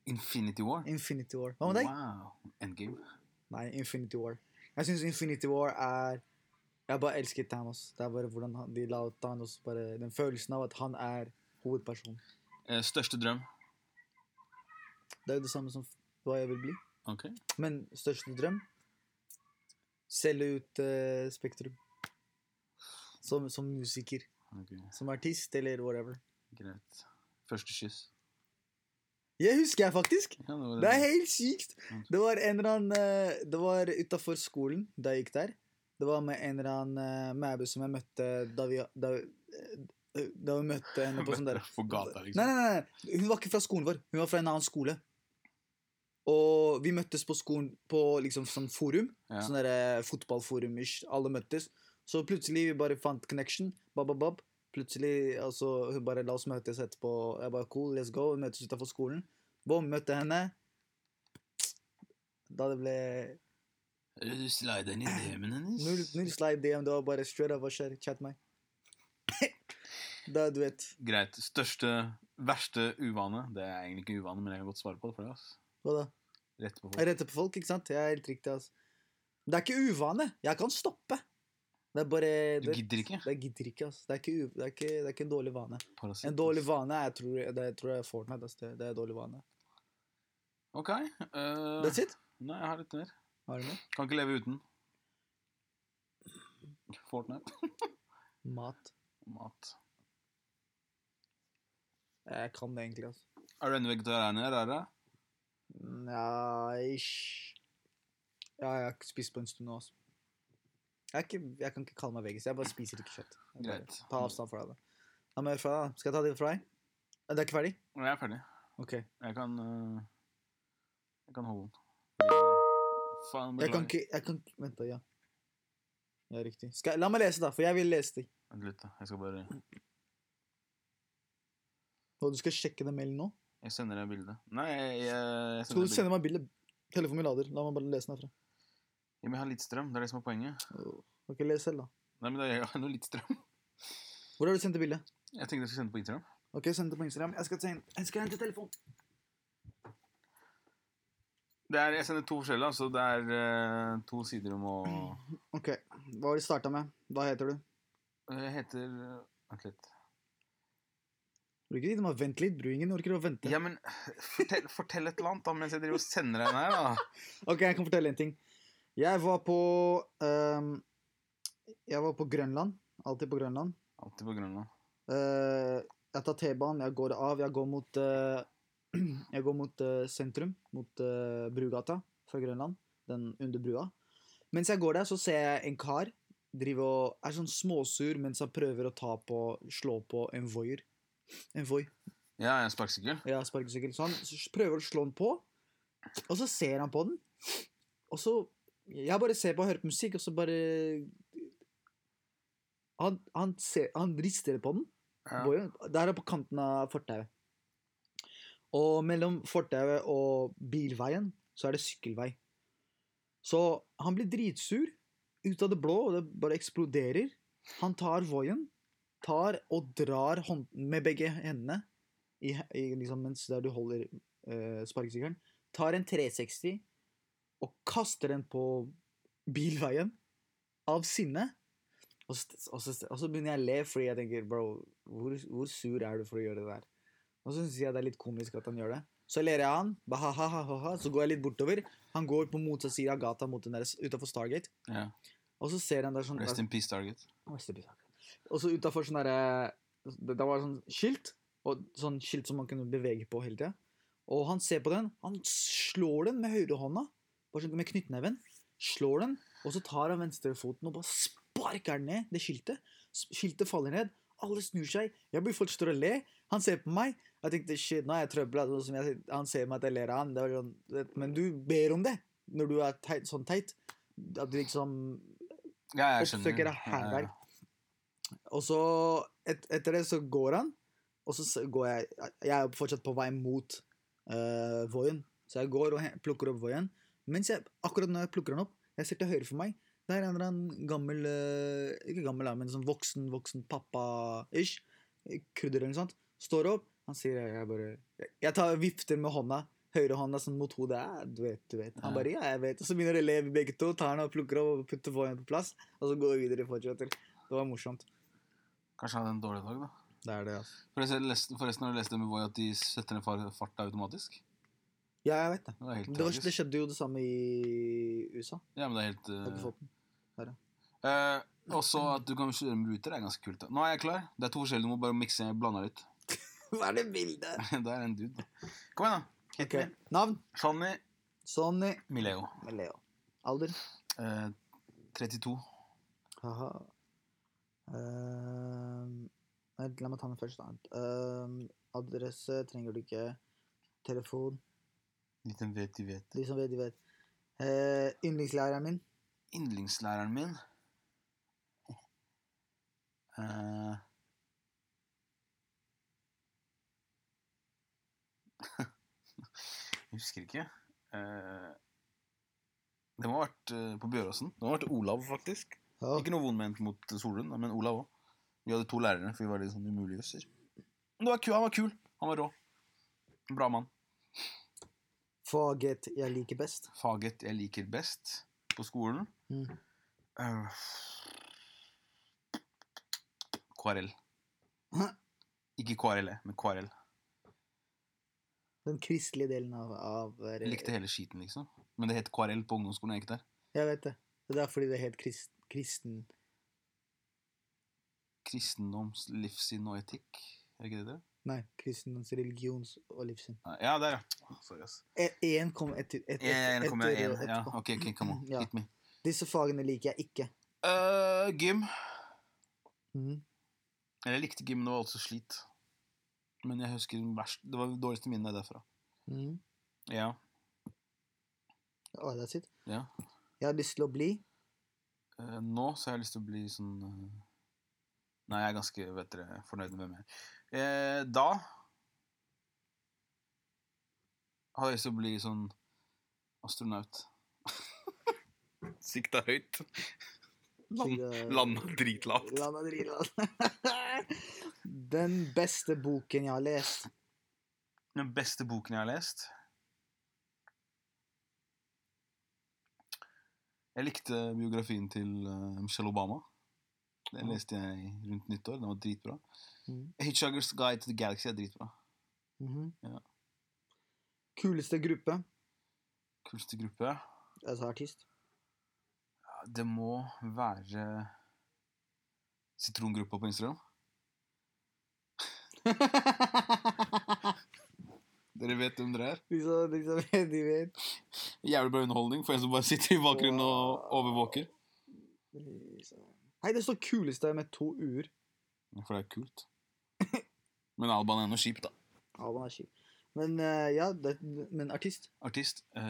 Infinity War. Infinity War. Hva med deg? Wow. Endgame. Nei, Infinity War. Jeg syns Infinity War er Jeg bare elsker Thanos. Det er bare hvordan han, de la Thanos bare Den følelsen av at han er hovedpersonen. Eh, største drøm? Det er jo det samme som f- hva jeg vil bli. Ok. Men største drøm Selge ut eh, Spektrum. Som, som musiker. Ok, Som artist, eller whatever. greit. Første kyss. Jeg husker jeg faktisk! Ja, det var Det er helt sykt! Mm. Det var en eller annen eh, Det var utafor skolen da jeg gikk der. Det var med en eller annen eh, mæbu som jeg møtte da vi Da, eh, da vi møtte henne på sånn der På gata, liksom. Nei, nei, nei. Hun var ikke fra skolen vår. Hun var fra en annen skole. Og vi møttes på skolen på liksom sånn forum. Ja. Sånn derre fotballforum-ish. Alle møttes. Så plutselig vi bare fant connection. Bab, bab, bab. Plutselig altså, hun bare la oss møtes etterpå. Jeg bare cool, let's go. Vi møtes utafor skolen. Bom, møtte henne. Da det ble Du slida inn Eh, i DM-en null, hennes. null slide DM. Det var bare straight up hva skjer? Chat meg. da, du vet. Greit. Største, verste uvane. Det er egentlig ikke uvane, men jeg kan godt svare på det for deg. ass. Hva da? Rett på folk. Jeg retter på folk, ikke sant? Jeg er helt riktig, altså. Det er ikke uvane. Jeg kan stoppe. Det er bare Du gidder ikke? Jeg gidder ikke, altså. Det er ikke, u... det er ikke, det er ikke en dårlig vane. Parasitt, En ass. dårlig vane er, jeg tror, det tror jeg er Fortnite. Altså. Det, det er en dårlig vane. Ok. eh, That's it. Nei, jeg har litt mer. Har du noe? Kan ikke leve uten. Fortnite. Mat. Mat. Jeg kan det egentlig, altså. Er du ennå vegetarianer? Er det? Nja, ish. Ja, jeg har ikke spist på en stund nå, altså. Jeg, er ikke, jeg kan ikke kalle meg veggis. Jeg bare spiser ikke kjøtt. Jeg bare Greit. tar avstand fra det. Da må jeg fra, skal jeg ta det fra deg? Det er ikke ferdig? Nei, Jeg er ferdig. OK. Jeg kan eh, Jeg kan holde den. eh, Faen, Jeg kan beklager. ikke, jeg kan ikke Vent, da. Ja. Ja, riktig. Skal, jeg- la meg lese, da, for jeg vil lese ting. Vent litt, da. Jeg skal bare Og du skal sjekke den mailen nå? Jeg sender deg bilde. Nei, jeg, jeg Skal du sender deg bilde. sende meg bildet? Telefonen min lader. La meg bare lese den herfra. Ja, men jeg har litt strøm. Det er det som er poenget. Åh, Ok, les selv, da. Nei, men det- jeg har noe litt strøm. Hvor har du sendt det bildet? Jeg tenkte jeg skulle sende det på Instagram. Ok, send det på Instagram. Jeg skal, ten- jeg skal hente telefonen. Det er, jeg sender to forskjellige, altså. Det er eh, to sider om å Ok, Hva var det du starta med? Hva heter du? Jeg heter eh, Vent litt. Bruker ikke tid med å vente litt. Bruingen orker å vente. Ja, men fortell, fortell et eller annet, da, mens jeg driver og sender deg den her, da. Ok, jeg kan fortelle en ting. Jeg var på ehm, Jeg var på Grønland. Alltid på Grønland. Alltid på Grønland. Eh, jeg tar T-banen, jeg går av, jeg går mot, eh, jeg går mot eh, sentrum, mot eh, Brugata fra Grønland, den under brua. Mens jeg går der, så ser jeg en kar drive og er sånn småsur mens han prøver å ta på, slå på en voier. En voi, Ja, jeg er sparkesykkel. ja, sparkesykkel. Så han s- prøver å slå den på, og så ser han på den. Og så Jeg bare ser på og hører på musikk, og så bare Han, han, ser, han rister på den. Ja. Bor jo- Det her er på kanten av fortauet. Og mellom fortauet og bilveien så er det sykkelvei. Så han blir dritsur ut av det blå, og det bare eksploderer. Han tar voien, tar og drar hånd, med begge hendene i, i, liksom, mens der du holder eh, sparkesykkelen, tar en 360 og kaster den på bilveien av sinne. Og så, og, så, og så begynner jeg å le fordi jeg tenker Bro, hvor, hvor sur er du for å gjøre det der? Og så syns jeg det er litt komisk at han gjør det. Så ler jeg av han, bahahaha, så går jeg litt bortover. Han går på motsatt side av gata mot den der utafor Stargate. Ja. Og så ser han der sånn Rest in peace, Target. Neste bisak. Og så utafor sånn derre det- Det var sånn skilt. Og sånn skilt som man kunne bevege på hele tida. Og han ser på den. Han slår den med høyrehånda. Bare sånn med knyttneven. Slår den, og så tar han venstrefoten og bare sparker den ned, det skiltet. S- Skiltet faller ned. Alle snur seg. Jeg blir folk står og le. Han ser på meg. Jeg tenkte shit, nå er jeg i trøbbel. altså, som jeg- Han ser meg at jeg ler av han. Det var sånn, men du ber om det når du er teit, sånn teit. At du liksom Ja, jeg skjønner. oppsøker Ja, ja, ja. hærverk. Og så, et, etter det, så går han, og så s- går jeg Jeg er jo fortsatt på vei mot uh, Voien, så jeg går og he- plukker opp Voien. Mens jeg, akkurat når jeg plukker den opp, jeg ser til høyre for meg, der er en eller annen gammel eh, Ikke gammel, da, men sånn voksen, voksen pappa-ish. Krudder eller noe sånt. Står opp. Han sier jeg bare Jeg, jeg tar vifter med hånda. Høyrehånda sånn mot hodet. «Ja, Du vet, du vet. Han Ja. bare ja, jeg vet. Og så begynner de å le vi begge to. Tar den og plukker opp og putter voien på plass. Og så går vi videre og fortsetter. Det var morsomt. Kanskje han hadde en dårlig dag, da. Det er det, altså. Forresten, jeg leste- forresten har du lest det med Voi at de setter ned far- farta automatisk? Ja, jeg vet det. Det er helt Det, var, det tragisk. skjedde jo det samme i USA. Ja, men det er helt Jeg har ikke eh, fått den. Eh, også at du kan kjøre med ruter, er ganske kult. da. Nå er jeg klar. Det er to forskjellige, du må bare mikse blande litt. Hva er det bildet? det er en dude, da. Kom igjen, da. Hit Ok. me. Navn? Fanny Sonny Mileo. med Leo. Alder? Eh, 32. Haha. Ehm, vent, la meg ta den først, da. Ehm, adresse trenger du ikke. Telefon. Liten vet de vet. De som vet, de vet. Eh, yndlingslæreren min. Yndlingslæreren min Eh. Jeg husker ikke. Eh, Det må ha vært eh, på Bjøråsen. Det må ha vært Olav, faktisk. Ja. Ikke noe vondt ment mot Solund, men Olav òg. Vi hadde to lærere, for vi var litt sånn umuligjøser. Men det var ku- han var kul. Han var rå. En Bra mann. Faget jeg liker best. Faget jeg liker best på skolen Mm. Eh, KRL. Hæ? Ikke KRLE, men KRL. Den kristelige delen av, av eh, Jeg likte hele skiten, liksom. Men det het KRL på ungdomsskolen. jeg gikk der. Jeg vet det. Det er fordi det het krist, kristen. Kristendoms livssyn og etikk. Er ikke det det? Nei, kristendoms religions- og livssyn. Nei, Ja, der, ja. Sorry, ass. Én kom etter, etter, En etter, kommer jeg en. Ja, etterpå. ok, ok, come on. Ja. Hit me. Disse fagene liker jeg ikke. Eh, gym. Mhm. Eller jeg likte gym, men det var også slit. Men jeg husker den verst, det var det dårligste minnet derfra. Mhm. Ja. Å, det er sitt. ja. Jeg har lyst til å bli Eh, nå så har jeg lyst til å bli sånn eh, Nei, jeg er ganske vet dere, fornøyd med hvem jeg er. Eh, da hadde jeg lyst til å bli sånn astronaut. Sikta høyt. Sånn Land- dritlavt. Land og Driland. Den beste boken jeg har lest. Den beste boken jeg har lest Jeg likte biografien til eh, Michelle Obama. Ja. Den leste jeg rundt nyttår. Den var dritbra. Mm. Mhm. Hitchhiker's Guide to the Galaxy er dritbra. Mhm. Ja. Kuleste gruppe, Kuleste gruppe altså artist. Ja, Det må være Sitrongruppa på Instagram. Dere vet hvem dere er. de, som, de som vet, de vet. Jævlig bra underholdning for en som bare sitter i bakgrunnen og overvåker. Hei, det står kuleste med to u-er. For det er kult. Men Alban er noe kjipt, da. Ja, man er kjip. Men eh, ja, det, men artist. artist. eh,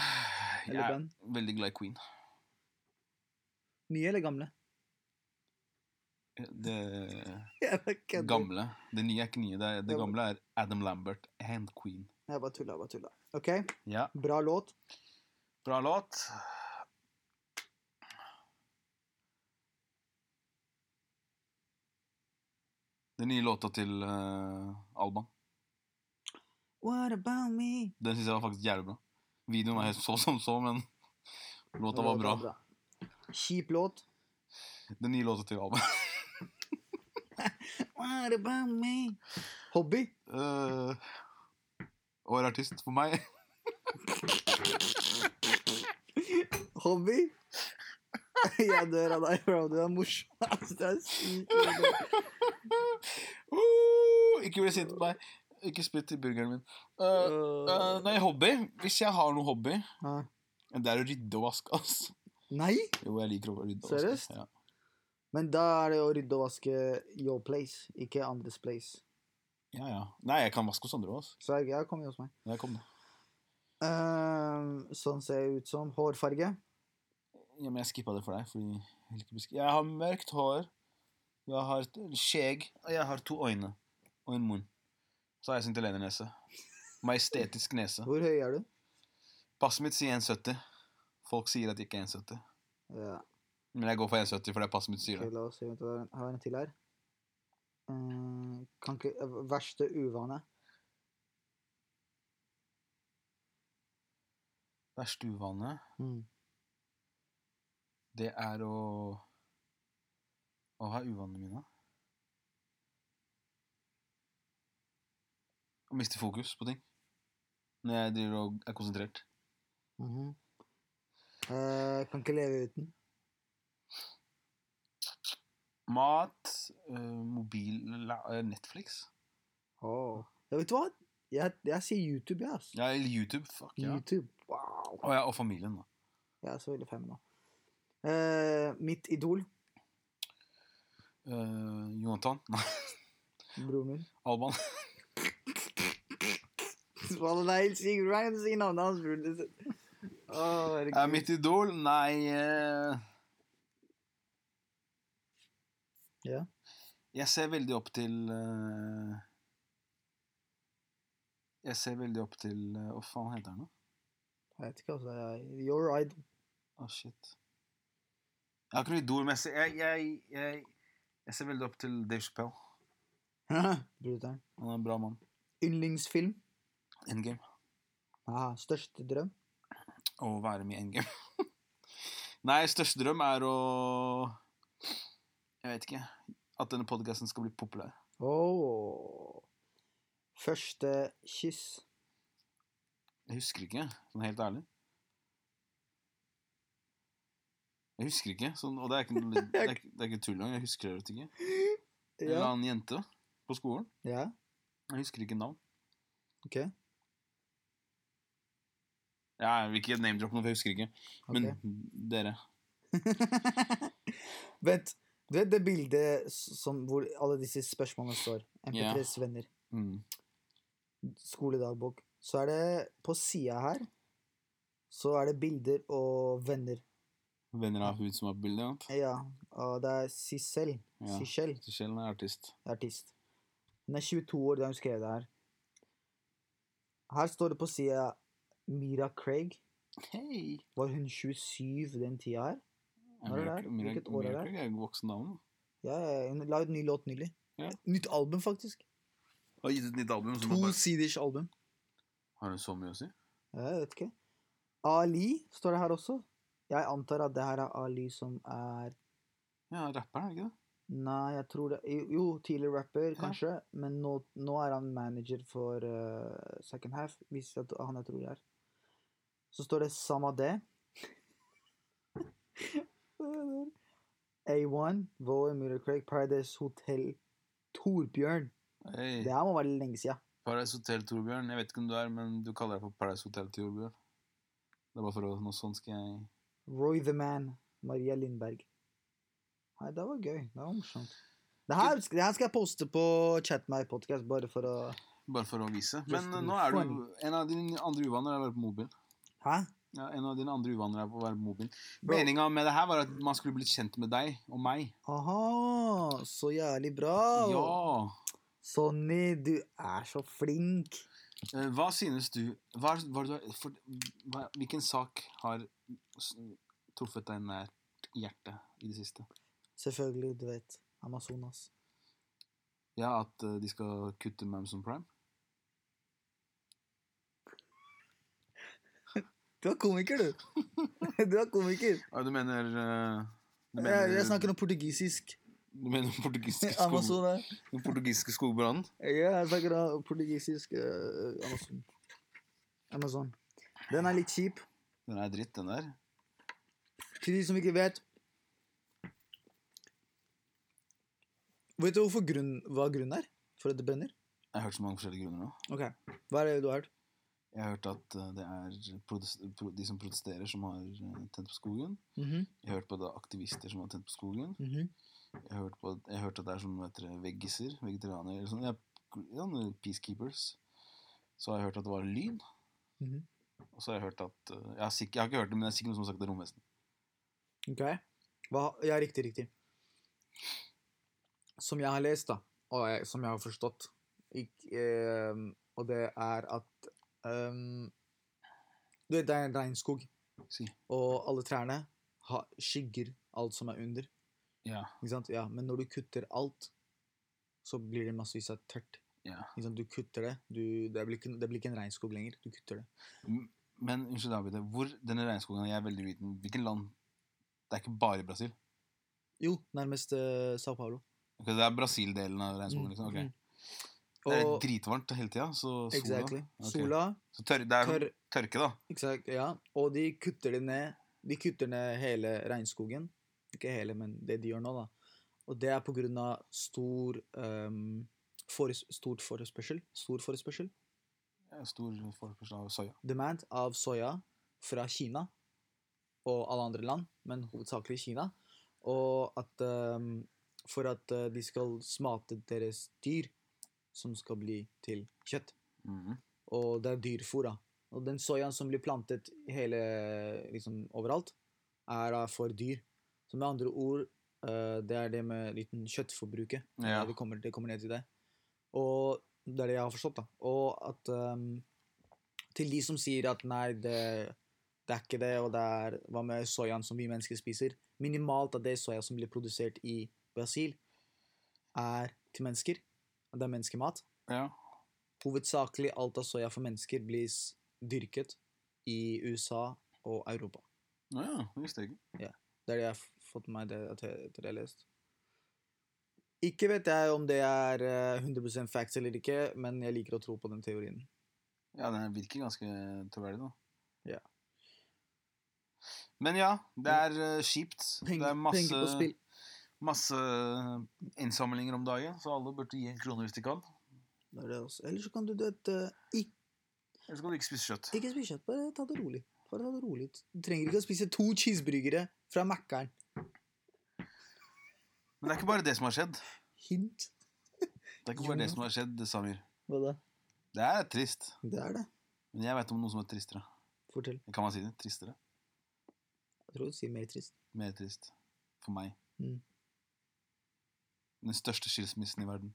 jeg Eller er band. veldig glad i Queen. Nye eller gamle? Det Jeg bare kødder. gamle. Det nye er ikke nye. Det, er, det gamle er Adam Lambert and Queen. Jeg bare tulla, bare tulla. OK, Ja, bra låt. Bra låt. Den nye låta til eh, Alban. What about me? Den syns jeg var faktisk jævlig bra. Videoen var helt så som så, men låta var bra. Kjip låt. Den nye låta til Alban. What about me? Hobby? Uh, og er artist for meg. Hobby? Jeg dør av deg, bro. Du er morsom. ass. Det er sykt. morsomt. Uh, ikke bli sint på meg. Ikke spytt i burgeren min. Uh, uh, nei, hobby. Hvis jeg har noe hobby Ja. Det er å rydde og vaske, ass. Nei? Jo, jeg liker å rydde og Seriøst? vaske. Ja. Men da er det å rydde og vaske your place, ikke andres place. ja, ja. Nei, jeg kan vaske hos andre òg. Så jeg, jeg kommer jo hos meg. Jeg kom, da. Ehm, sånn ser jeg ut som. Hårfarge. ja, men jeg skippa det for deg, fordi jeg liker å beskri- Jeg har mørkt hår. Jeg har et skjegg. Og jeg har to øyne. Og en munn. Så har jeg sintelenernese. Majestetisk nese. Hvor høy er du? Passet mitt sier 1,70. Folk sier at jeg ikke er 1,70. Ja, Men jeg går for 1,70 fordi passet mitt sier ok, det. la oss se. Vent, jeg har en til her. Ehm, kan ikke eh, Verste uvane. Verste uvane Hmm, Det er å Å ha uvanene mine. Å miste fokus på ting. når jeg driver og er konsentrert. Mhm. Eh, kan ikke leve uten. Mat, øh, mobil, la, øh, Netflix Åh. Ja, vet du hva? Jeg, jeg sier YouTube, jeg. ass. Ja, eller YouTube. Fuck, ja. YouTube. Wow. Og, ja, og familien, da. Jeg er så veldig fan nå. Eh, mitt idol, Øh, Jonathan. Nei, broren min. Alban. Hva, Nei, si Ryan, si navnet hans, broren din. Åh, herregud. Er mitt idol? Nei øh, Ja. Jeg ser veldig opp til øh, Jeg ser veldig opp til øh, Hva faen heter han, da? Jeg vet ikke, altså. Jeg, your idol. Å, shit. Jeg har ikke noe idol, men jeg ser, jeg, jeg, jeg, jeg ser veldig opp til Dave Chappelle. Bruteren. Han er en bra mann. Yndlingsfilm. Endgame. Ah, største drøm. Å være med i Endgame. Nei, største drøm er å Jeg vet ikke. At denne podkasten skal bli populær. Åh. Første kyss. Jeg husker ikke, sånn helt ærlig. Jeg husker ikke, sånn, og det er ikke, noe- det er, ikke- det er ikke tull engang. Jeg husker det rett ikke. En eller Ja. annen jente på skolen. ja. Jeg husker ikke navn. Ok. Jeg vil ikke name-droppe noe, for jeg husker ikke. Men ok. dere Vent. Du vet det bildet s- som, hvor alle disse spørsmålene står? MP3s venner. mm. Skoledagbok. Så er det på sida her Så er det bilder og venner. Venner av hun som har bildet. Ja. Og det er Sissel. Ja. Sissel. Sjelden er artist. artist. Hun er 22 år da hun skrev det her. Her står det på sida Mira Craig. Hei! Var hun 27 den tida her? Når er det her? Hvilket år er det her? Jeg er en voksen dame. Ja, ja, hun la ut ny låt nylig. Ja. Nytt album, faktisk. Har gitt et nytt album. Som To bare... siders album. Har hun så mye å si? Ja, Jeg vet ikke. Ali står det her også. Jeg antar at det her er Ali som er Ja, rapperen, er det ikke det? Nei, jeg tror det Jo, jo, tidligere rapper, kanskje. Men nå, nå er han manager for eh, Second Half, hvis jeg, han jeg tror det er. Så står det Samadeh. A1, Voe, Mira Craig, Paradise Hotel, Torbjørn. Det Hei. her må være lenge siden. Paradise Hotel, Torbjørn. Jeg vet ikke hvem du er, men du kaller deg for Paradise Hotel, Torbjørn. Det er bare for å Noe sånt skal jeg Roy the Man, Maria Lindberg. Nei, det var gøy. Det var morsomt. Det her, det her skal jeg poste på Chat My Podcast, bare for å Bare for å vise. Just Men to eh, be nå er du fun. En av dine andre uvaner er å være på mobil. Hæ? Ja, en av dine andre uvaner er å være på mobil. Bro. Meninga med det her var at man skulle blitt kjent med deg og meg. Aha, så jævlig bra! Ja! Sonny, du er så flink. Eh, Hva synes du hva, er- hva, er det du har- for, hva, Hvilken sak har s- truffet deg nær hjertet i det siste? Selvfølgelig, du vet. Amazonas. Ja, at eh, de skal kutte Mamson Prime? Du er komiker, du. Du er komiker. Ja, du mener eh, Du Jeg, mener, jeg snakker noe portugisisk. du mener den portugisiske, skog, Amazonas. den portugisiske skogbrannen? Ja, jeg snakker da portugisisk eh, Amazon. Amazon. Den er litt kjip. Den er dritt, den der. Til de som ikke vet Vet du hvorfor grunn, hva grunnen er for at det brenner? Jeg har hørt så mange forskjellige grunner nå. Ok, Hva er det du har hørt? Jeg har hørt at eh, det er protes- pro- de som protesterer, som har eh, tent på skogen. Mhm, Jeg har hørt på at det er aktivister som har tent på skogen. mhm. Jeg har hørt, på, at- jeg har hørt at det er sånn vet dere, veggiser, vegetarianere eller sånn. Ja, ja, peacekeepers. Så har jeg hørt at det var lyn. Mhm. Og så har jeg hørt at eh, jeg har, sikk- jeg har ikke hørt det, men det er sikkert noen som har sagt det er romvesen. Ok. Hva, ja, riktig, riktig. Som jeg har lest, da, og jeg, som jeg har forstått, ikk- eh, og det er at ehm, Du vet, det er en regnskog, Si. og alle trærne har skygger alt som er under. Ja. Ikke sant? Ja, men når du kutter alt, så blir det massevis av tørt. Ja. Ikke sant? Du kutter det. Du, det, blir ikke, det blir ikke en regnskog lenger. Du kutter det. M- Men unnskyld, David. Hvor denne regnskogen Jeg er veldig uviten. Hvilken land Det er ikke bare i Brasil? Jo, nærmest eh, Sao Paulo. Ok, det er Brasil-delen av regnskogen, Mm, liksom? mm. Ok. Det er Og- dritvarmt hele tida, så sola Exactly. Ok. Sola så tør, Det er tørr tørke, da. Exakt, ja. Og de kutter det ned. De kutter ned hele regnskogen. Ikke hele, men det de gjør nå, da. Og det er på grunn av stor ehm, fores- stort forespørsel. Stor forespørsel. Ja, Stor forespørsel av soya. Demand av soya fra Kina og alle andre land, men hovedsakelig Kina. Og at ehm, For at eh, de skal smate deres dyr, som skal bli til kjøtt. Mhm. og det er dyrfôr. da. Og den soyaen som blir plantet i hele, liksom, overalt, er da for dyr. Så med andre ord, eh, det er det med liten kjøttforbruket. Det, er Ja. det det, kommer, det kommer ned til det. Og det er det jeg har forstått, da. Og at ehm, til de som sier at nei, det, det er ikke det, og det er hva med soyaen som vi mennesker spiser? Minimalt av det soya som blir produsert i Brasil, er til mennesker. Det er menneskemat. Ja. Hovedsakelig alt av soya for mennesker blir s- dyrket i USA og Europa. ja, det visste jeg ikke. Det er det jeg har fått med meg det, at jeg- etter det jeg har lest. Ikke vet jeg om det er eh, 100 facts eller ikke, men jeg liker å tro på den teorien. Ja, den virker ganske troverdig, da. Ja. Men ja, det er eh, kjipt. Penger, det er masse, penger på spill. masse eh, innsamlinger om dagen, så alle burde gi en krone hvis de kan. Det er det også. Eller så kan du, du vet, eh, ikke, Ellers kan du ikke spise kjøtt. ikke spise kjøtt. Bare ta det rolig. Bare ta det rolig. Du trenger ikke å spise to cheeseburgere fra Mækkern. Men det er ikke bare det som har skjedd. Hint. Det er ikke bare Jo. det som har skjedd, Samir. Hva da? Det er trist. Det er det. Men jeg veit om noe som er tristere. Fortell. Kan man si det? Tristere? Jeg tror du sier mer trist. Mer trist. For meg. Mm. Den største skilsmissen i verden.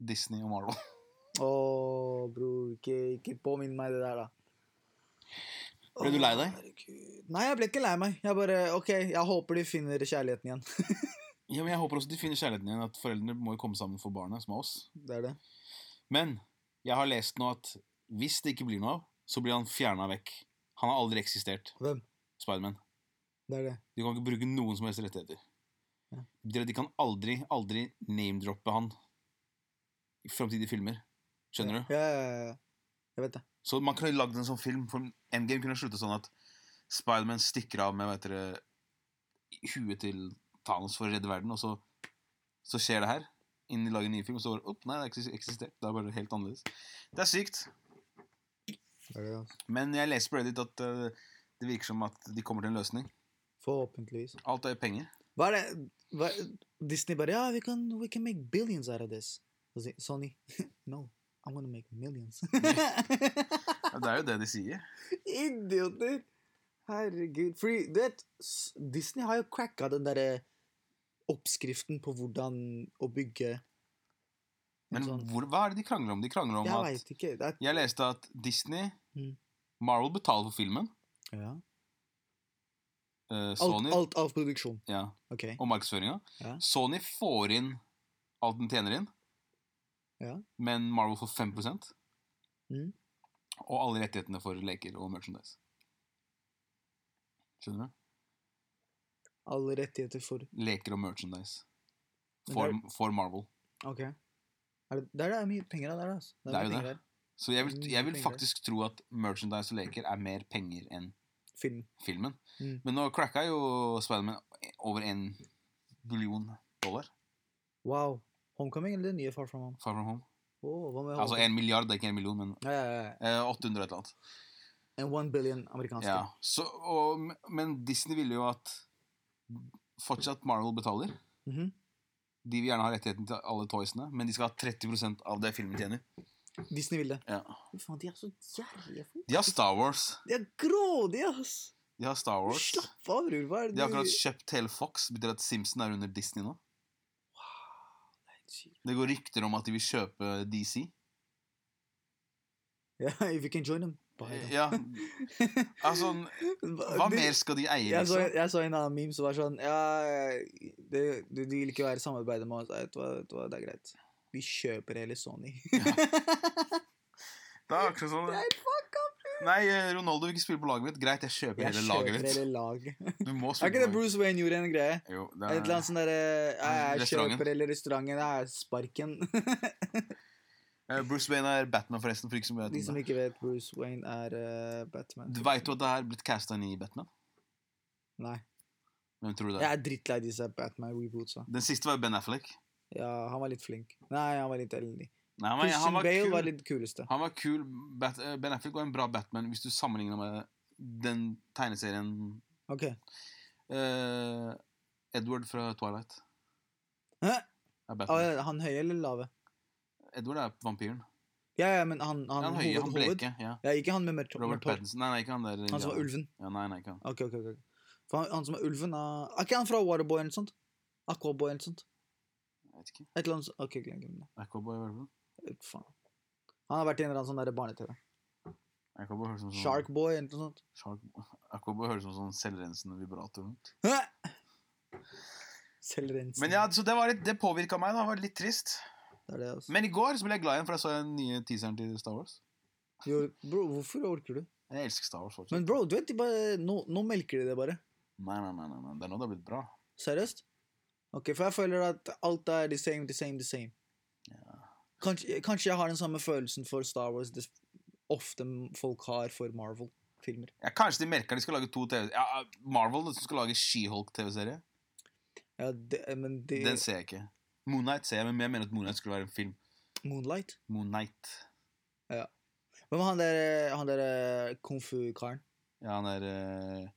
Disney og Marvel. Åh, bror, ikke, ikke påminn meg det der, da. Ble du Åh, lei deg? herregud. Nei, jeg ble ikke lei meg. Jeg bare OK, jeg håper de finner kjærligheten igjen. Ja, men Jeg håper også de finner kjærligheten igjen. At foreldrene må jo komme sammen for barnet, som er oss. Det er det. Men jeg har lest nå at hvis det ikke blir noe av, så blir han fjerna vekk. Han har aldri eksistert. Hvem? Spiderman. Det er det. Du kan ikke bruke noen som helst rettigheter. Ja. Det betyr at De kan aldri, aldri name-droppe han i framtidige filmer. Skjønner du? Ja, ja, ja, ja. Jeg vet det. Så man kunne lagd en sånn film for Endgame kunne slutta sånn at Spiderman stikker av med vet dere, huet til Thanos for å redde verden, og så, så skjer det her. Innen de lager en ny film, så bare Opp, nei, det har ikke eksistert. Det er bare helt annerledes. Det er sykt. det, er det altså. Men jeg leser på Reddit at eh, det virker som at de kommer til en løsning. Forhåpentligvis. Alt er penger. Hva er det hva, Disney bare Ja, we can, we can make billions out of this. Og så sier Sony No, I'm gonna make millions. Ja, Det er jo det de sier. Idioter! Herregud. Fordi, du vet, s- Disney har jo cracka den derre oppskriften på hvordan å bygge en Men sånn hvor, hva er det de krangler om? De krangler om Jeg at veit ikke. Det er, Jeg leste at Disney Mm. Marvel betaler for filmen. ja. eh, alt, Sony alt av produksjon. Ja, OK. og markedsføringa. Ja. Sony får inn alt den tjener inn, Ja. men Marvel får 5 Mm. Og alle rettighetene for leker og merchandise. Skjønner du? Alle rettigheter for Leker og merchandise. Men For, det for Marvel. OK. Er det, der er det mye penger av der, altså. Det er mye jo penger der. Så jeg vil, Mye jeg vil penger. faktisk tro at merchandise og leker er mer penger enn Film. filmen. Mm. Men nå cracka jo Spiderman over en billion dollar. Wow. Homecoming eller det nye Far From Home? Far from home. Åh, hva med Altså Homecoming? en milliard, det er ikke en million, men Ja, ja, ja. eh, 800 og et eller annet. En one billion amerikanske. Ja, så, og, men Disney ville jo at fortsatt Marvel betaler. Mhm. De vil gjerne ha rettigheten til alle toysene, men de skal ha 30 av det filmen tjener. Disney vil det. Ja. Fy faen, de er så gjerrige folk. De har Star Wars. De er grådige, ass! De har Star Wars. Slapp av, bror. Hva er det De har akkurat du- kjøpt hele Fox. Betyr at Simpson er under Disney nå. Shit. Det går rykter om at de vil kjøpe DC. Ja, if you can join them, buy them. Ja, altså, hva De- mer skal de eie, Jeg så, liksom? jeg så en annen meme som var sånn Ja, det, du, de vil ikke være i samarbeid med oss. Nei, Vet du hva, vet du hva, det er greit. Vi kjøper hele Sony. Det er akkurat sånn. Nei, fuck up, bror. Nei, eh, Ronaldo vil ikke spille på laget mitt. Greit, jeg kjøper Jeg hele kjøper laget mitt. hele laget. Du må Er ikke spille det på laget. Bruce Wayne gjorde en greie? Jo, Et det er, eller annet sånn derre Jeg Restauranten. kjøper hele restauranten, det er sparken. Eh, Bruce Wayne er Batman, forresten. For ikke så mye De som om det. ikke vet Bruce Wayne er eh, Batman. Du veit jo at det er blitt casta inn i Batman? Nei. Hvem tror du det Jeg er? er drittlei disse Batman-rebootsa. Den siste var Ben Affleck. Ja, han var litt flink. Nei, han var litt elendig. Nei, men, Christian han var Bale kul. var litt kuleste. Han var kul. Bat eh, ben Affleck var en bra Batman hvis du sammenligner med den tegneserien Ok. eh, Edward fra Twilight. Hæ? Er Ah, Batman. ja, han høye eller lave? Edward er vampyren. Ja, ja, men han, han, Han høye, hoved, han hoved. bleke. Ja. Ja, ikke han med mørkt Robert mørkt hår. Pattinson. Nei, nei, ikke han der. Han som var indianeren. ulven. Ja, nei, nei, ikke han. Ok, ok, ok. ok. For han, han som er ulven, er Er ikke han fra Waterboy eller noe sånt? Aquaboy eller noe sånt? Jeg vet ikke. Et eller annet sånt. Ok, glem glem det. Aquaboy, hva er det for noe? Ut, Faen. Han har vært i en eller annen sånn derre barne-TV. Aquaboy høres ut som sånn- Sharkboy eller noe sånt. Shark... Aquaboy høres ut som sånn selvrensende vibrator. Hæ? Selvrensing. Men ja, så det, var litt, det påvirka meg. da, det var litt trist. Det er det, altså. Men i går så ble jeg glad igjen, for jeg så den nye teaseren til Star Wars. Jo, bro, hvorfor orker du? Jeg elsker Star Wars fortsatt. Men bro, du vet de bare Nå, nå melker de det bare. Nei, nei, nei, nei, nei, det er nå det har blitt bra. Seriøst? Ok, for jeg føler at alt er the same, the same, the same. Kanskje, kanskje jeg har den samme følelsen for Star Wars det ofte folk har for Marvel-filmer. Ja, kanskje de merker de skal lage to TV... Ja, Marvel som skal lage She-Hulk-TV-serie. Ja, det, men det Den ser jeg ikke. Moonnight ser jeg, men jeg mener at Moonnight skulle være en film. Moonlight? Moonnight. Hvem er han der, han der eh, kung fu-karen? Ja, han er eh,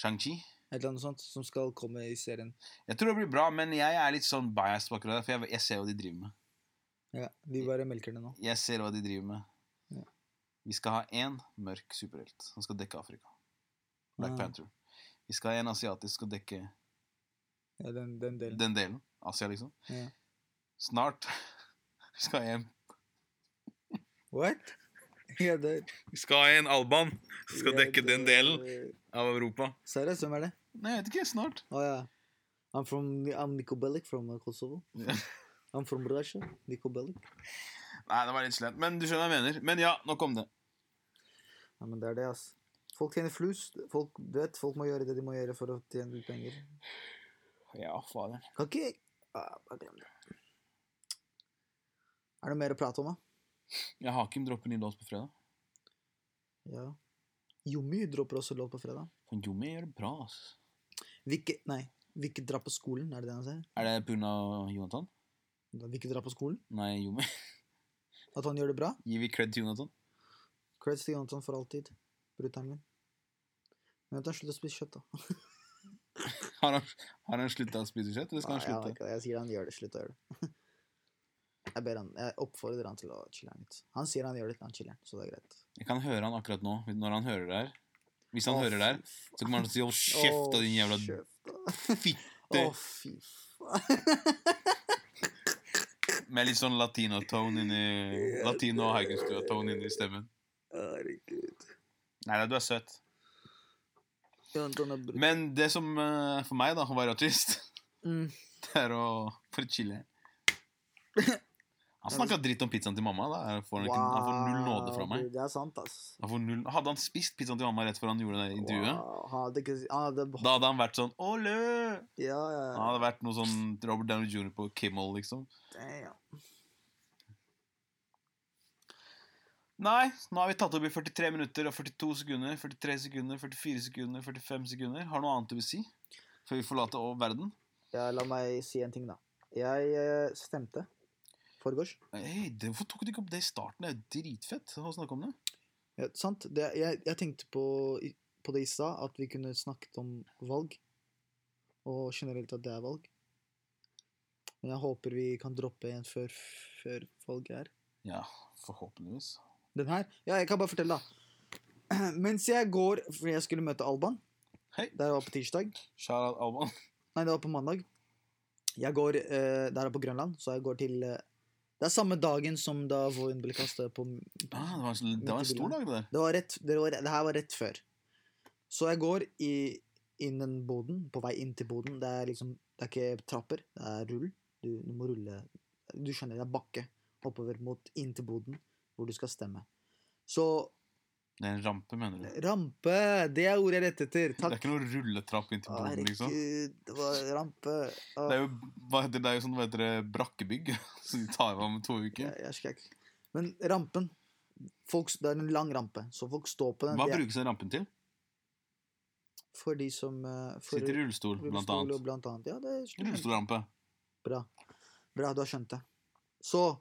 Shang-Chi. Et eller annet sånt som skal komme i serien. Jeg tror det blir bra, men jeg er litt sånn biased på akkurat det, for jeg, jeg ser hva de driver med. Ja, De bare melker det nå. Jeg ser hva de driver med. Ja. Vi skal ha én mørk superhelt. Han skal dekke Afrika. Black Ah. Panther. Vi skal ha en asiatisk som skal dekke Ja, den, den delen. den delen. Asia, liksom. Ja. Snart vi skal ha en What? Ja, det, Vi skal ha en alban som skal ja, dekke den det- delen av Europa. Seriøst, hvem er det? Nei, jeg vet ikke. Snart. Å ja. Oh, I'm from I'm Niko Bellic from uh, Kosovo. Ja. I'm from Russia. Niko Bellic. Nei, det var litt slemt. Men du skjønner hva jeg mener. Men ja, nok om det. Ja, men det er det, ass. Folk tjener flus. Folk, du vet, folk må gjøre det de må gjøre for å tjene litt penger. Ja, fader. Kan ikke ah, Bare glem det. Er det noe mer å prate om, da? Ja, Hakim dropper ny låt på fredag. Ja. Jommi dropper også låt på fredag. Men Jommi gjør det bra, ass. Vikke Nei. Vikke dra på skolen, er det det han sier? Er det pga. Jonathan? Da Vikke dra på skolen? Nei, Jommi. At han gjør det bra? Gir vi cred til Jonathan? Creds til Jonathan for alltid. Brutter'n min. Men at han slutter å spise kjøtt, da. Har han, har han slutta å spise kjøtt, eller skal han Nei, jeg har slutte? ikke det. Jeg sier han gjør det. Slutt å gjøre det. Jeg, ber han, jeg oppfordrer han til å chille litt. Han sier han gjør det, han chiller, så det er greit. Jeg kan høre han akkurat nå, når han hører det her. Hvis han Å, hører det her, fy så kommer han til å faen. si 'hold kjeft', da, Å, din jævla kjeft, fitte. da. Å, fy faen. Med litt sånn latino-tone inni Latino- og Haugenstua-tone inni stemmen. Herregud. Nei, nei, du er søt. Jonathan er brut. Men det som eh, for meg da var trist, Mm. det er å få litt chille. Han snakka dritt om pizzaen til mamma. da Han får, han ikke, han får null nåde fra Wow, meg. dude, Det er sant, ass. Han får null, hadde han spist pizzaen til mamma rett før han gjorde det intervjuet, Wow, Han hadde ikke Han hadde da hadde han vært sånn 'Ole!' Ja, Han ja. hadde vært noe sånn Robert Downey jr. på Kimmel, liksom. Damn. Nei, nå har vi tatt opp i 43 minutter og 42 sekunder, 43 sekunder, 44 sekunder, 45 sekunder. Har du noe annet du vil si før vi forlater over verden? ja. La meg si en ting, da. Jeg eh, stemte foregårs. Hei, det- hvorfor tok du ikke opp det i starten? Det er jo dritfett å snakke om det. Ja, sant. Det, jeg, jeg tenkte på, i- på det i stad, at vi kunne snakket om valg. Og generelt at det er valg. Men jeg håper vi kan droppe en før, før valget er. Ja, forhåpentligvis. Den her? Ja, jeg kan bare fortelle, da. Mens jeg går Fordi jeg skulle møte Alban. Hei. Der var på tirsdag. Sharat Alban. Nei, det var på mandag. Jeg går eh, Der er på Grønland, så jeg går til eh, Det er samme dagen som da Voin ble kastet på Ah, det, var en, sl- det var en stor dag, det der. Det, var rett, det, var, det her var rett før. Så jeg går i, innen boden, på vei inn til boden. Det er liksom Det er ikke trapper, det er rull. Du, du må rulle Du skjønner, det er bakke oppover mot inn til boden, hvor du skal stemme. Så Det er en rampe, mener du? Rampe! Det er ordet jeg lette etter. Det er Takk. ikke noe rulletrapp inn til Å, boden, liksom. herregud, det var rampe. Å, Det er jo, hva heter, det det er jo sånn, hva heter det, brakkebygg, som de tar av om to uker. jeg, jeg skrek. Men rampen folk, Det er en lang rampe, så folk står på den. Hva Det er brukes den rampen til? For de som eh, for, Sitter i rullestol, blant rullestol og annet. Blant annet. Ja, det er Rullestolrampe. Bra. Bra, du har skjønt det. Så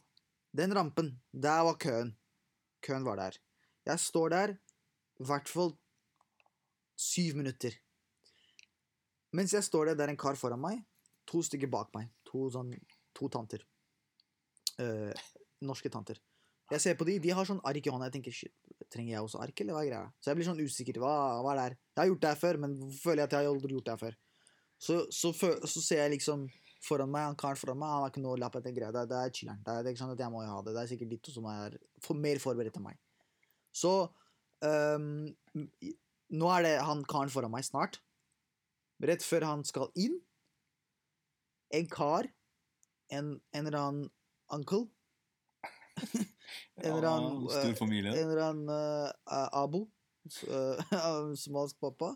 den rampen, der var køen. Køen var der. Jeg står der i hvert fall syv minutter. Mens jeg står der, det er en kar foran meg, to stykker bak meg. To, sånn, to tanter. Eh, norske tanter. Jeg ser på de, de har sånn ark i hånda. Jeg tenker, shit, trenger jeg også ark, eller hva er greia? Så jeg blir sånn usikker. Hva, hva er det her? Jeg har gjort det her før, men hvorfor føler jeg at jeg har aldri gjort det her før? Så, så, fø- så ser jeg liksom foran meg, han karen foran meg, han har ikke noe lapp etter greia. Det, er- det er chiller'n. Det, er- det er ikke sant at jeg må jo ha det. Det er sikkert de to som er for, mer forberedt enn meg. Så øhm, i- Nå er det han karen foran meg snart. Rett før han skal inn. En kar, en, en eller annen uncle En Ja, eller annen stor eh, familie. en eller annen eh, eh, abo, s- eh, av somalisk pappa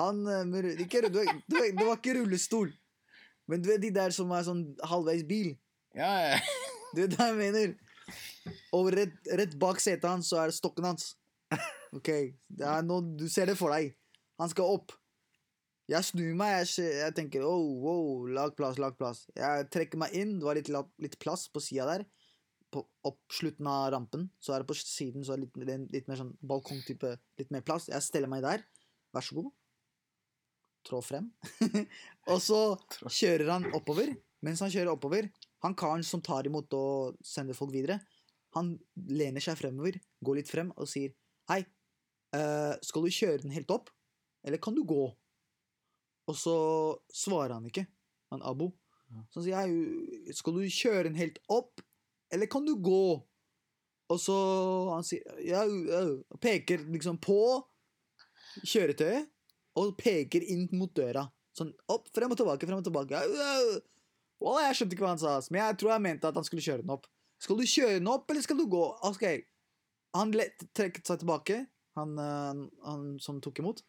Han eh, med, ru- ikke, ru- du, vet- du, vet, Det var ikke rullestol, men du vet de der som er sånn halvveis bil? Ja, ja. Du vet hva jeg mener? Og rett, rett bak setet hans så er det stokken hans. Ok, det er nå Du ser det for deg. Han skal opp. Jeg snur meg. Jeg, ser- jeg tenker oh, wow, lag plass, lag plass. Jeg trekker meg inn. Det var litt, la- litt plass på sida der. På opp slutten av rampen. Så er det på siden så er det litt, det er litt mer sånn balkongtype. Litt mer plass. Jeg steller meg der. Vær så god. Trå frem. og så kjører han oppover. Mens han kjører oppover, han karen som tar imot og sender folk videre, han lener seg fremover, går litt frem og sier Hei, eh, skal du kjøre den helt opp, eller kan du gå? Og så svarer han ikke, han Abo. Så han sier hei, skal du kjøre den helt opp, eller kan du gå? Og så han sier, ja, ja, og peker liksom på kjøretøyet, og peker inn mot døra. Sånn opp, frem og tilbake, frem og tilbake. Ja, ja. Å, jeg skjønte ikke hva han sa, ass, men jeg tror jeg mente at han skulle kjøre den opp. Skal du kjøre den opp, eller skal du gå? Asgeir. Han lett, trekket seg tilbake, han, eh, han som tok imot.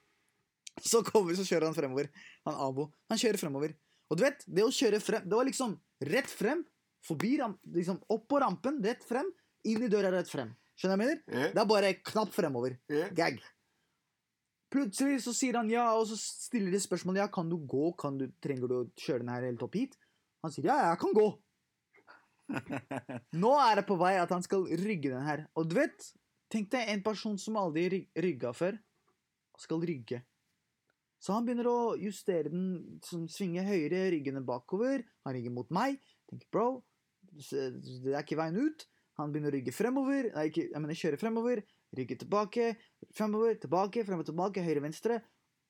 Så kommer, så kjører han fremover. Han Abo. Han kjører fremover. Og du vet, det å kjøre frem Det var liksom rett frem, forbi ram, liksom opp på rampen, rett frem, inn i døra, rett frem. Skjønner du hva jeg mener? Det er bare knapp fremover. Gag. Plutselig så sier han ja, og så stiller de spørsmål Ja, kan du gå? Kan du, trenger du å kjøre den her helt opp hit? Han sier ja, jeg kan gå. Nå er det på vei at han skal rygge den her. Og du vet, tenk deg en person som aldri ry- rygga før, skal rygge. Så han begynner å justere den, sånn, svinge høyre, ryggene bakover. Han rygger mot meg. Tenker bro, se- det er ikke veien ut. Han begynner å rygge fremover. Nei, ikke, jeg mener kjøre fremover. Rygge tilbake, fremover, tilbake, frem og tilbake, høyre, venstre.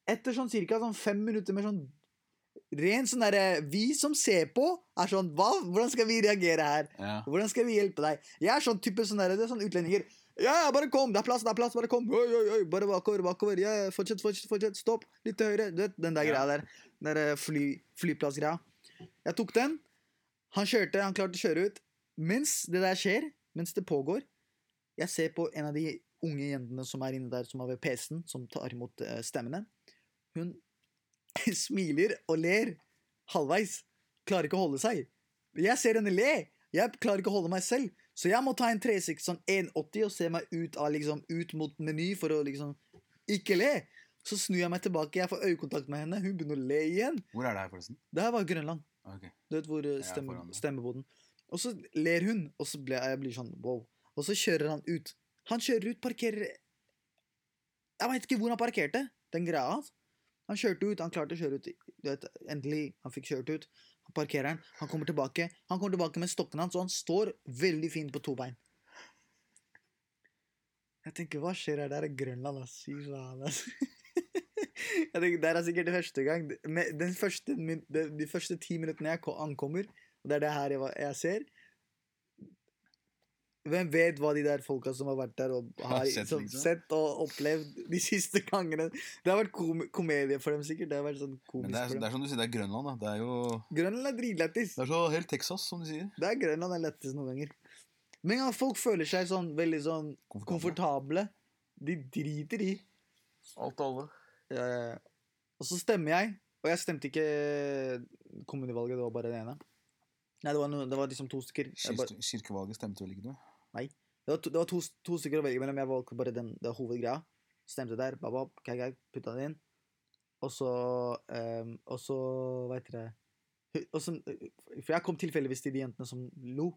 Etter sånn cirka sånn fem minutter med sånn ren sånn derre Vi som ser på, er sånn Hva? Hvordan skal vi reagere her? ja. Hvordan skal vi hjelpe deg? Jeg er sånn type sånn der, det er sånn utlendinger. Ja, ja, bare kom! Det er plass, det er plass, bare kom! Oi, oi, oi, bare bakover, bakover. Ja, ja, fortsett, fortsett, fortsett. Stopp. Litt til høyre. Du vet, den der Ja. greia der. Den der eh, fly, flyplassgreia. Jeg tok den. Han kjørte, han klarte å kjøre ut. Mens det der skjer, mens det pågår, jeg ser på en av de unge jentene som er inne der, som har ved PC-en, som tar imot eh, stemmene. Hun smiler og ler halvveis. Klarer ikke å holde seg. Jeg ser henne le. Jeg klarer ikke å holde meg selv. Så jeg må ta en 36, sånn 180 og se meg ut, av, liksom, ut mot meny for å liksom ikke le. Så snur jeg meg tilbake, jeg får øyekontakt med henne, hun begynner å le igjen. Hvor er det her, forresten? Det her var Grønland. Ok. Du vet hvor eh, Jeg er stemme, foran deg. stemmeboden Og så ler hun, og så blir jeg blir sånn wow. Og så kjører han ut. Han kjører ut, parkerer Jeg veit ikke hvor han parkerte, den greia hans. Han kjørte ut, han klarte å kjøre ut. Du vet, endelig, han fikk kjørt ut. Han parkerer den, han kommer tilbake. Han kommer tilbake med stokken hans, og han står veldig fint på to bein. Jeg tenker, hva skjer her? Det er Grønland, ass. Fy faen, ass. Jeg tenker, Det her er sikkert det første gang med den første, min- de, de første ti minuttene jeg ko- ankommer, og det er det her jeg, var- jeg ser Hvem vet hva de der folka som har vært der og har Har sett, som, liksom. sett og opplevd de siste gangene Det har vært kom komedie for dem, sikkert. Det har vært sånn Men komisk det er, for det dem. er som du sier, det er Grønland, da. Det er jo Grønland er dritlættis. Det er så helt Texas, som de sier. Det er Grønland er lettest noen ganger. Men ja, folk føler seg sånn veldig sånn komfortable De driter i. Alt og alle. Eh, og så stemmer jeg. Og jeg stemte ikke kommunevalget, det var bare det ene. Nei, det var, noe, det var liksom to stykker. Jeg bare, Kirke, kirkevalget stemte vel ikke du? det var, to, det var to, to stykker å velge mellom. Jeg valgte bare den, det var hovedgreia. Stemte der. Baba, kei, kei, putta den inn. Og så eh, Og så, hva heter det Hu- og så, For jeg kom tilfeldigvis til de jentene som lo.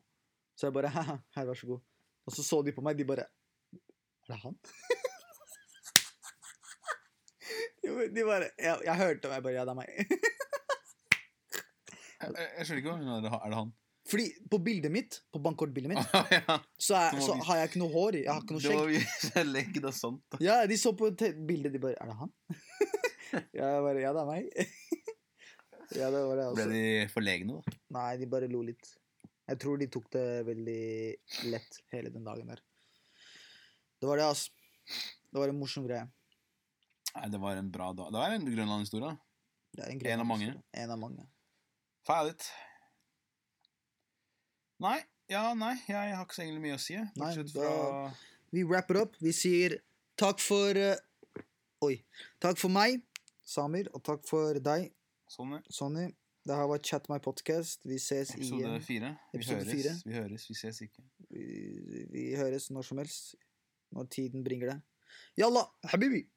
Så jeg bare Haha, her, vær så god. Og så så de på meg, de bare Er det han? De bare- de bare Jeg, jeg hørte om jeg bare Ja, det er meg. Jeg, jeg, jeg skjønner ikke hva hun er. det- Er det han? Fordi på bildet mitt, på bankkortbildet Ah, mitt, ja. så, er, Som så har vist- har jeg ikke noe hår i. Jeg har ikke noe Det var skjegg. mye legg og sånt. Ja, de så på te- bildet, de bare Er det han? jeg bare Ja, det er meg. ja, det var det Ble også. de forlegne, da? Nei, de bare lo litt. Jeg tror de tok det veldig lett hele den dagen der. Det var det, altså. Det var en morsom greie. Nei, det var en bra dag. Det var en Grønland-historie. da. Det er en, greie En av mange. historie. En av mange. Ferdig. Nei. Ja, nei. Jeg har ikke så egentlig mye å si. jeg. Nei, Bortsett da- fra Vi wrapper opp. Vi sier takk for eh, Oi. Takk for meg, Samir, og takk for deg, sånn, ja. Sonny. Det her var Chat my podcast. Vi ses episode igjen. fire. Vi Episode høres, fire. vi høres, vi ses ikke. Vi, vi høres når som helst. Når tiden bringer det. Yalla, habibi!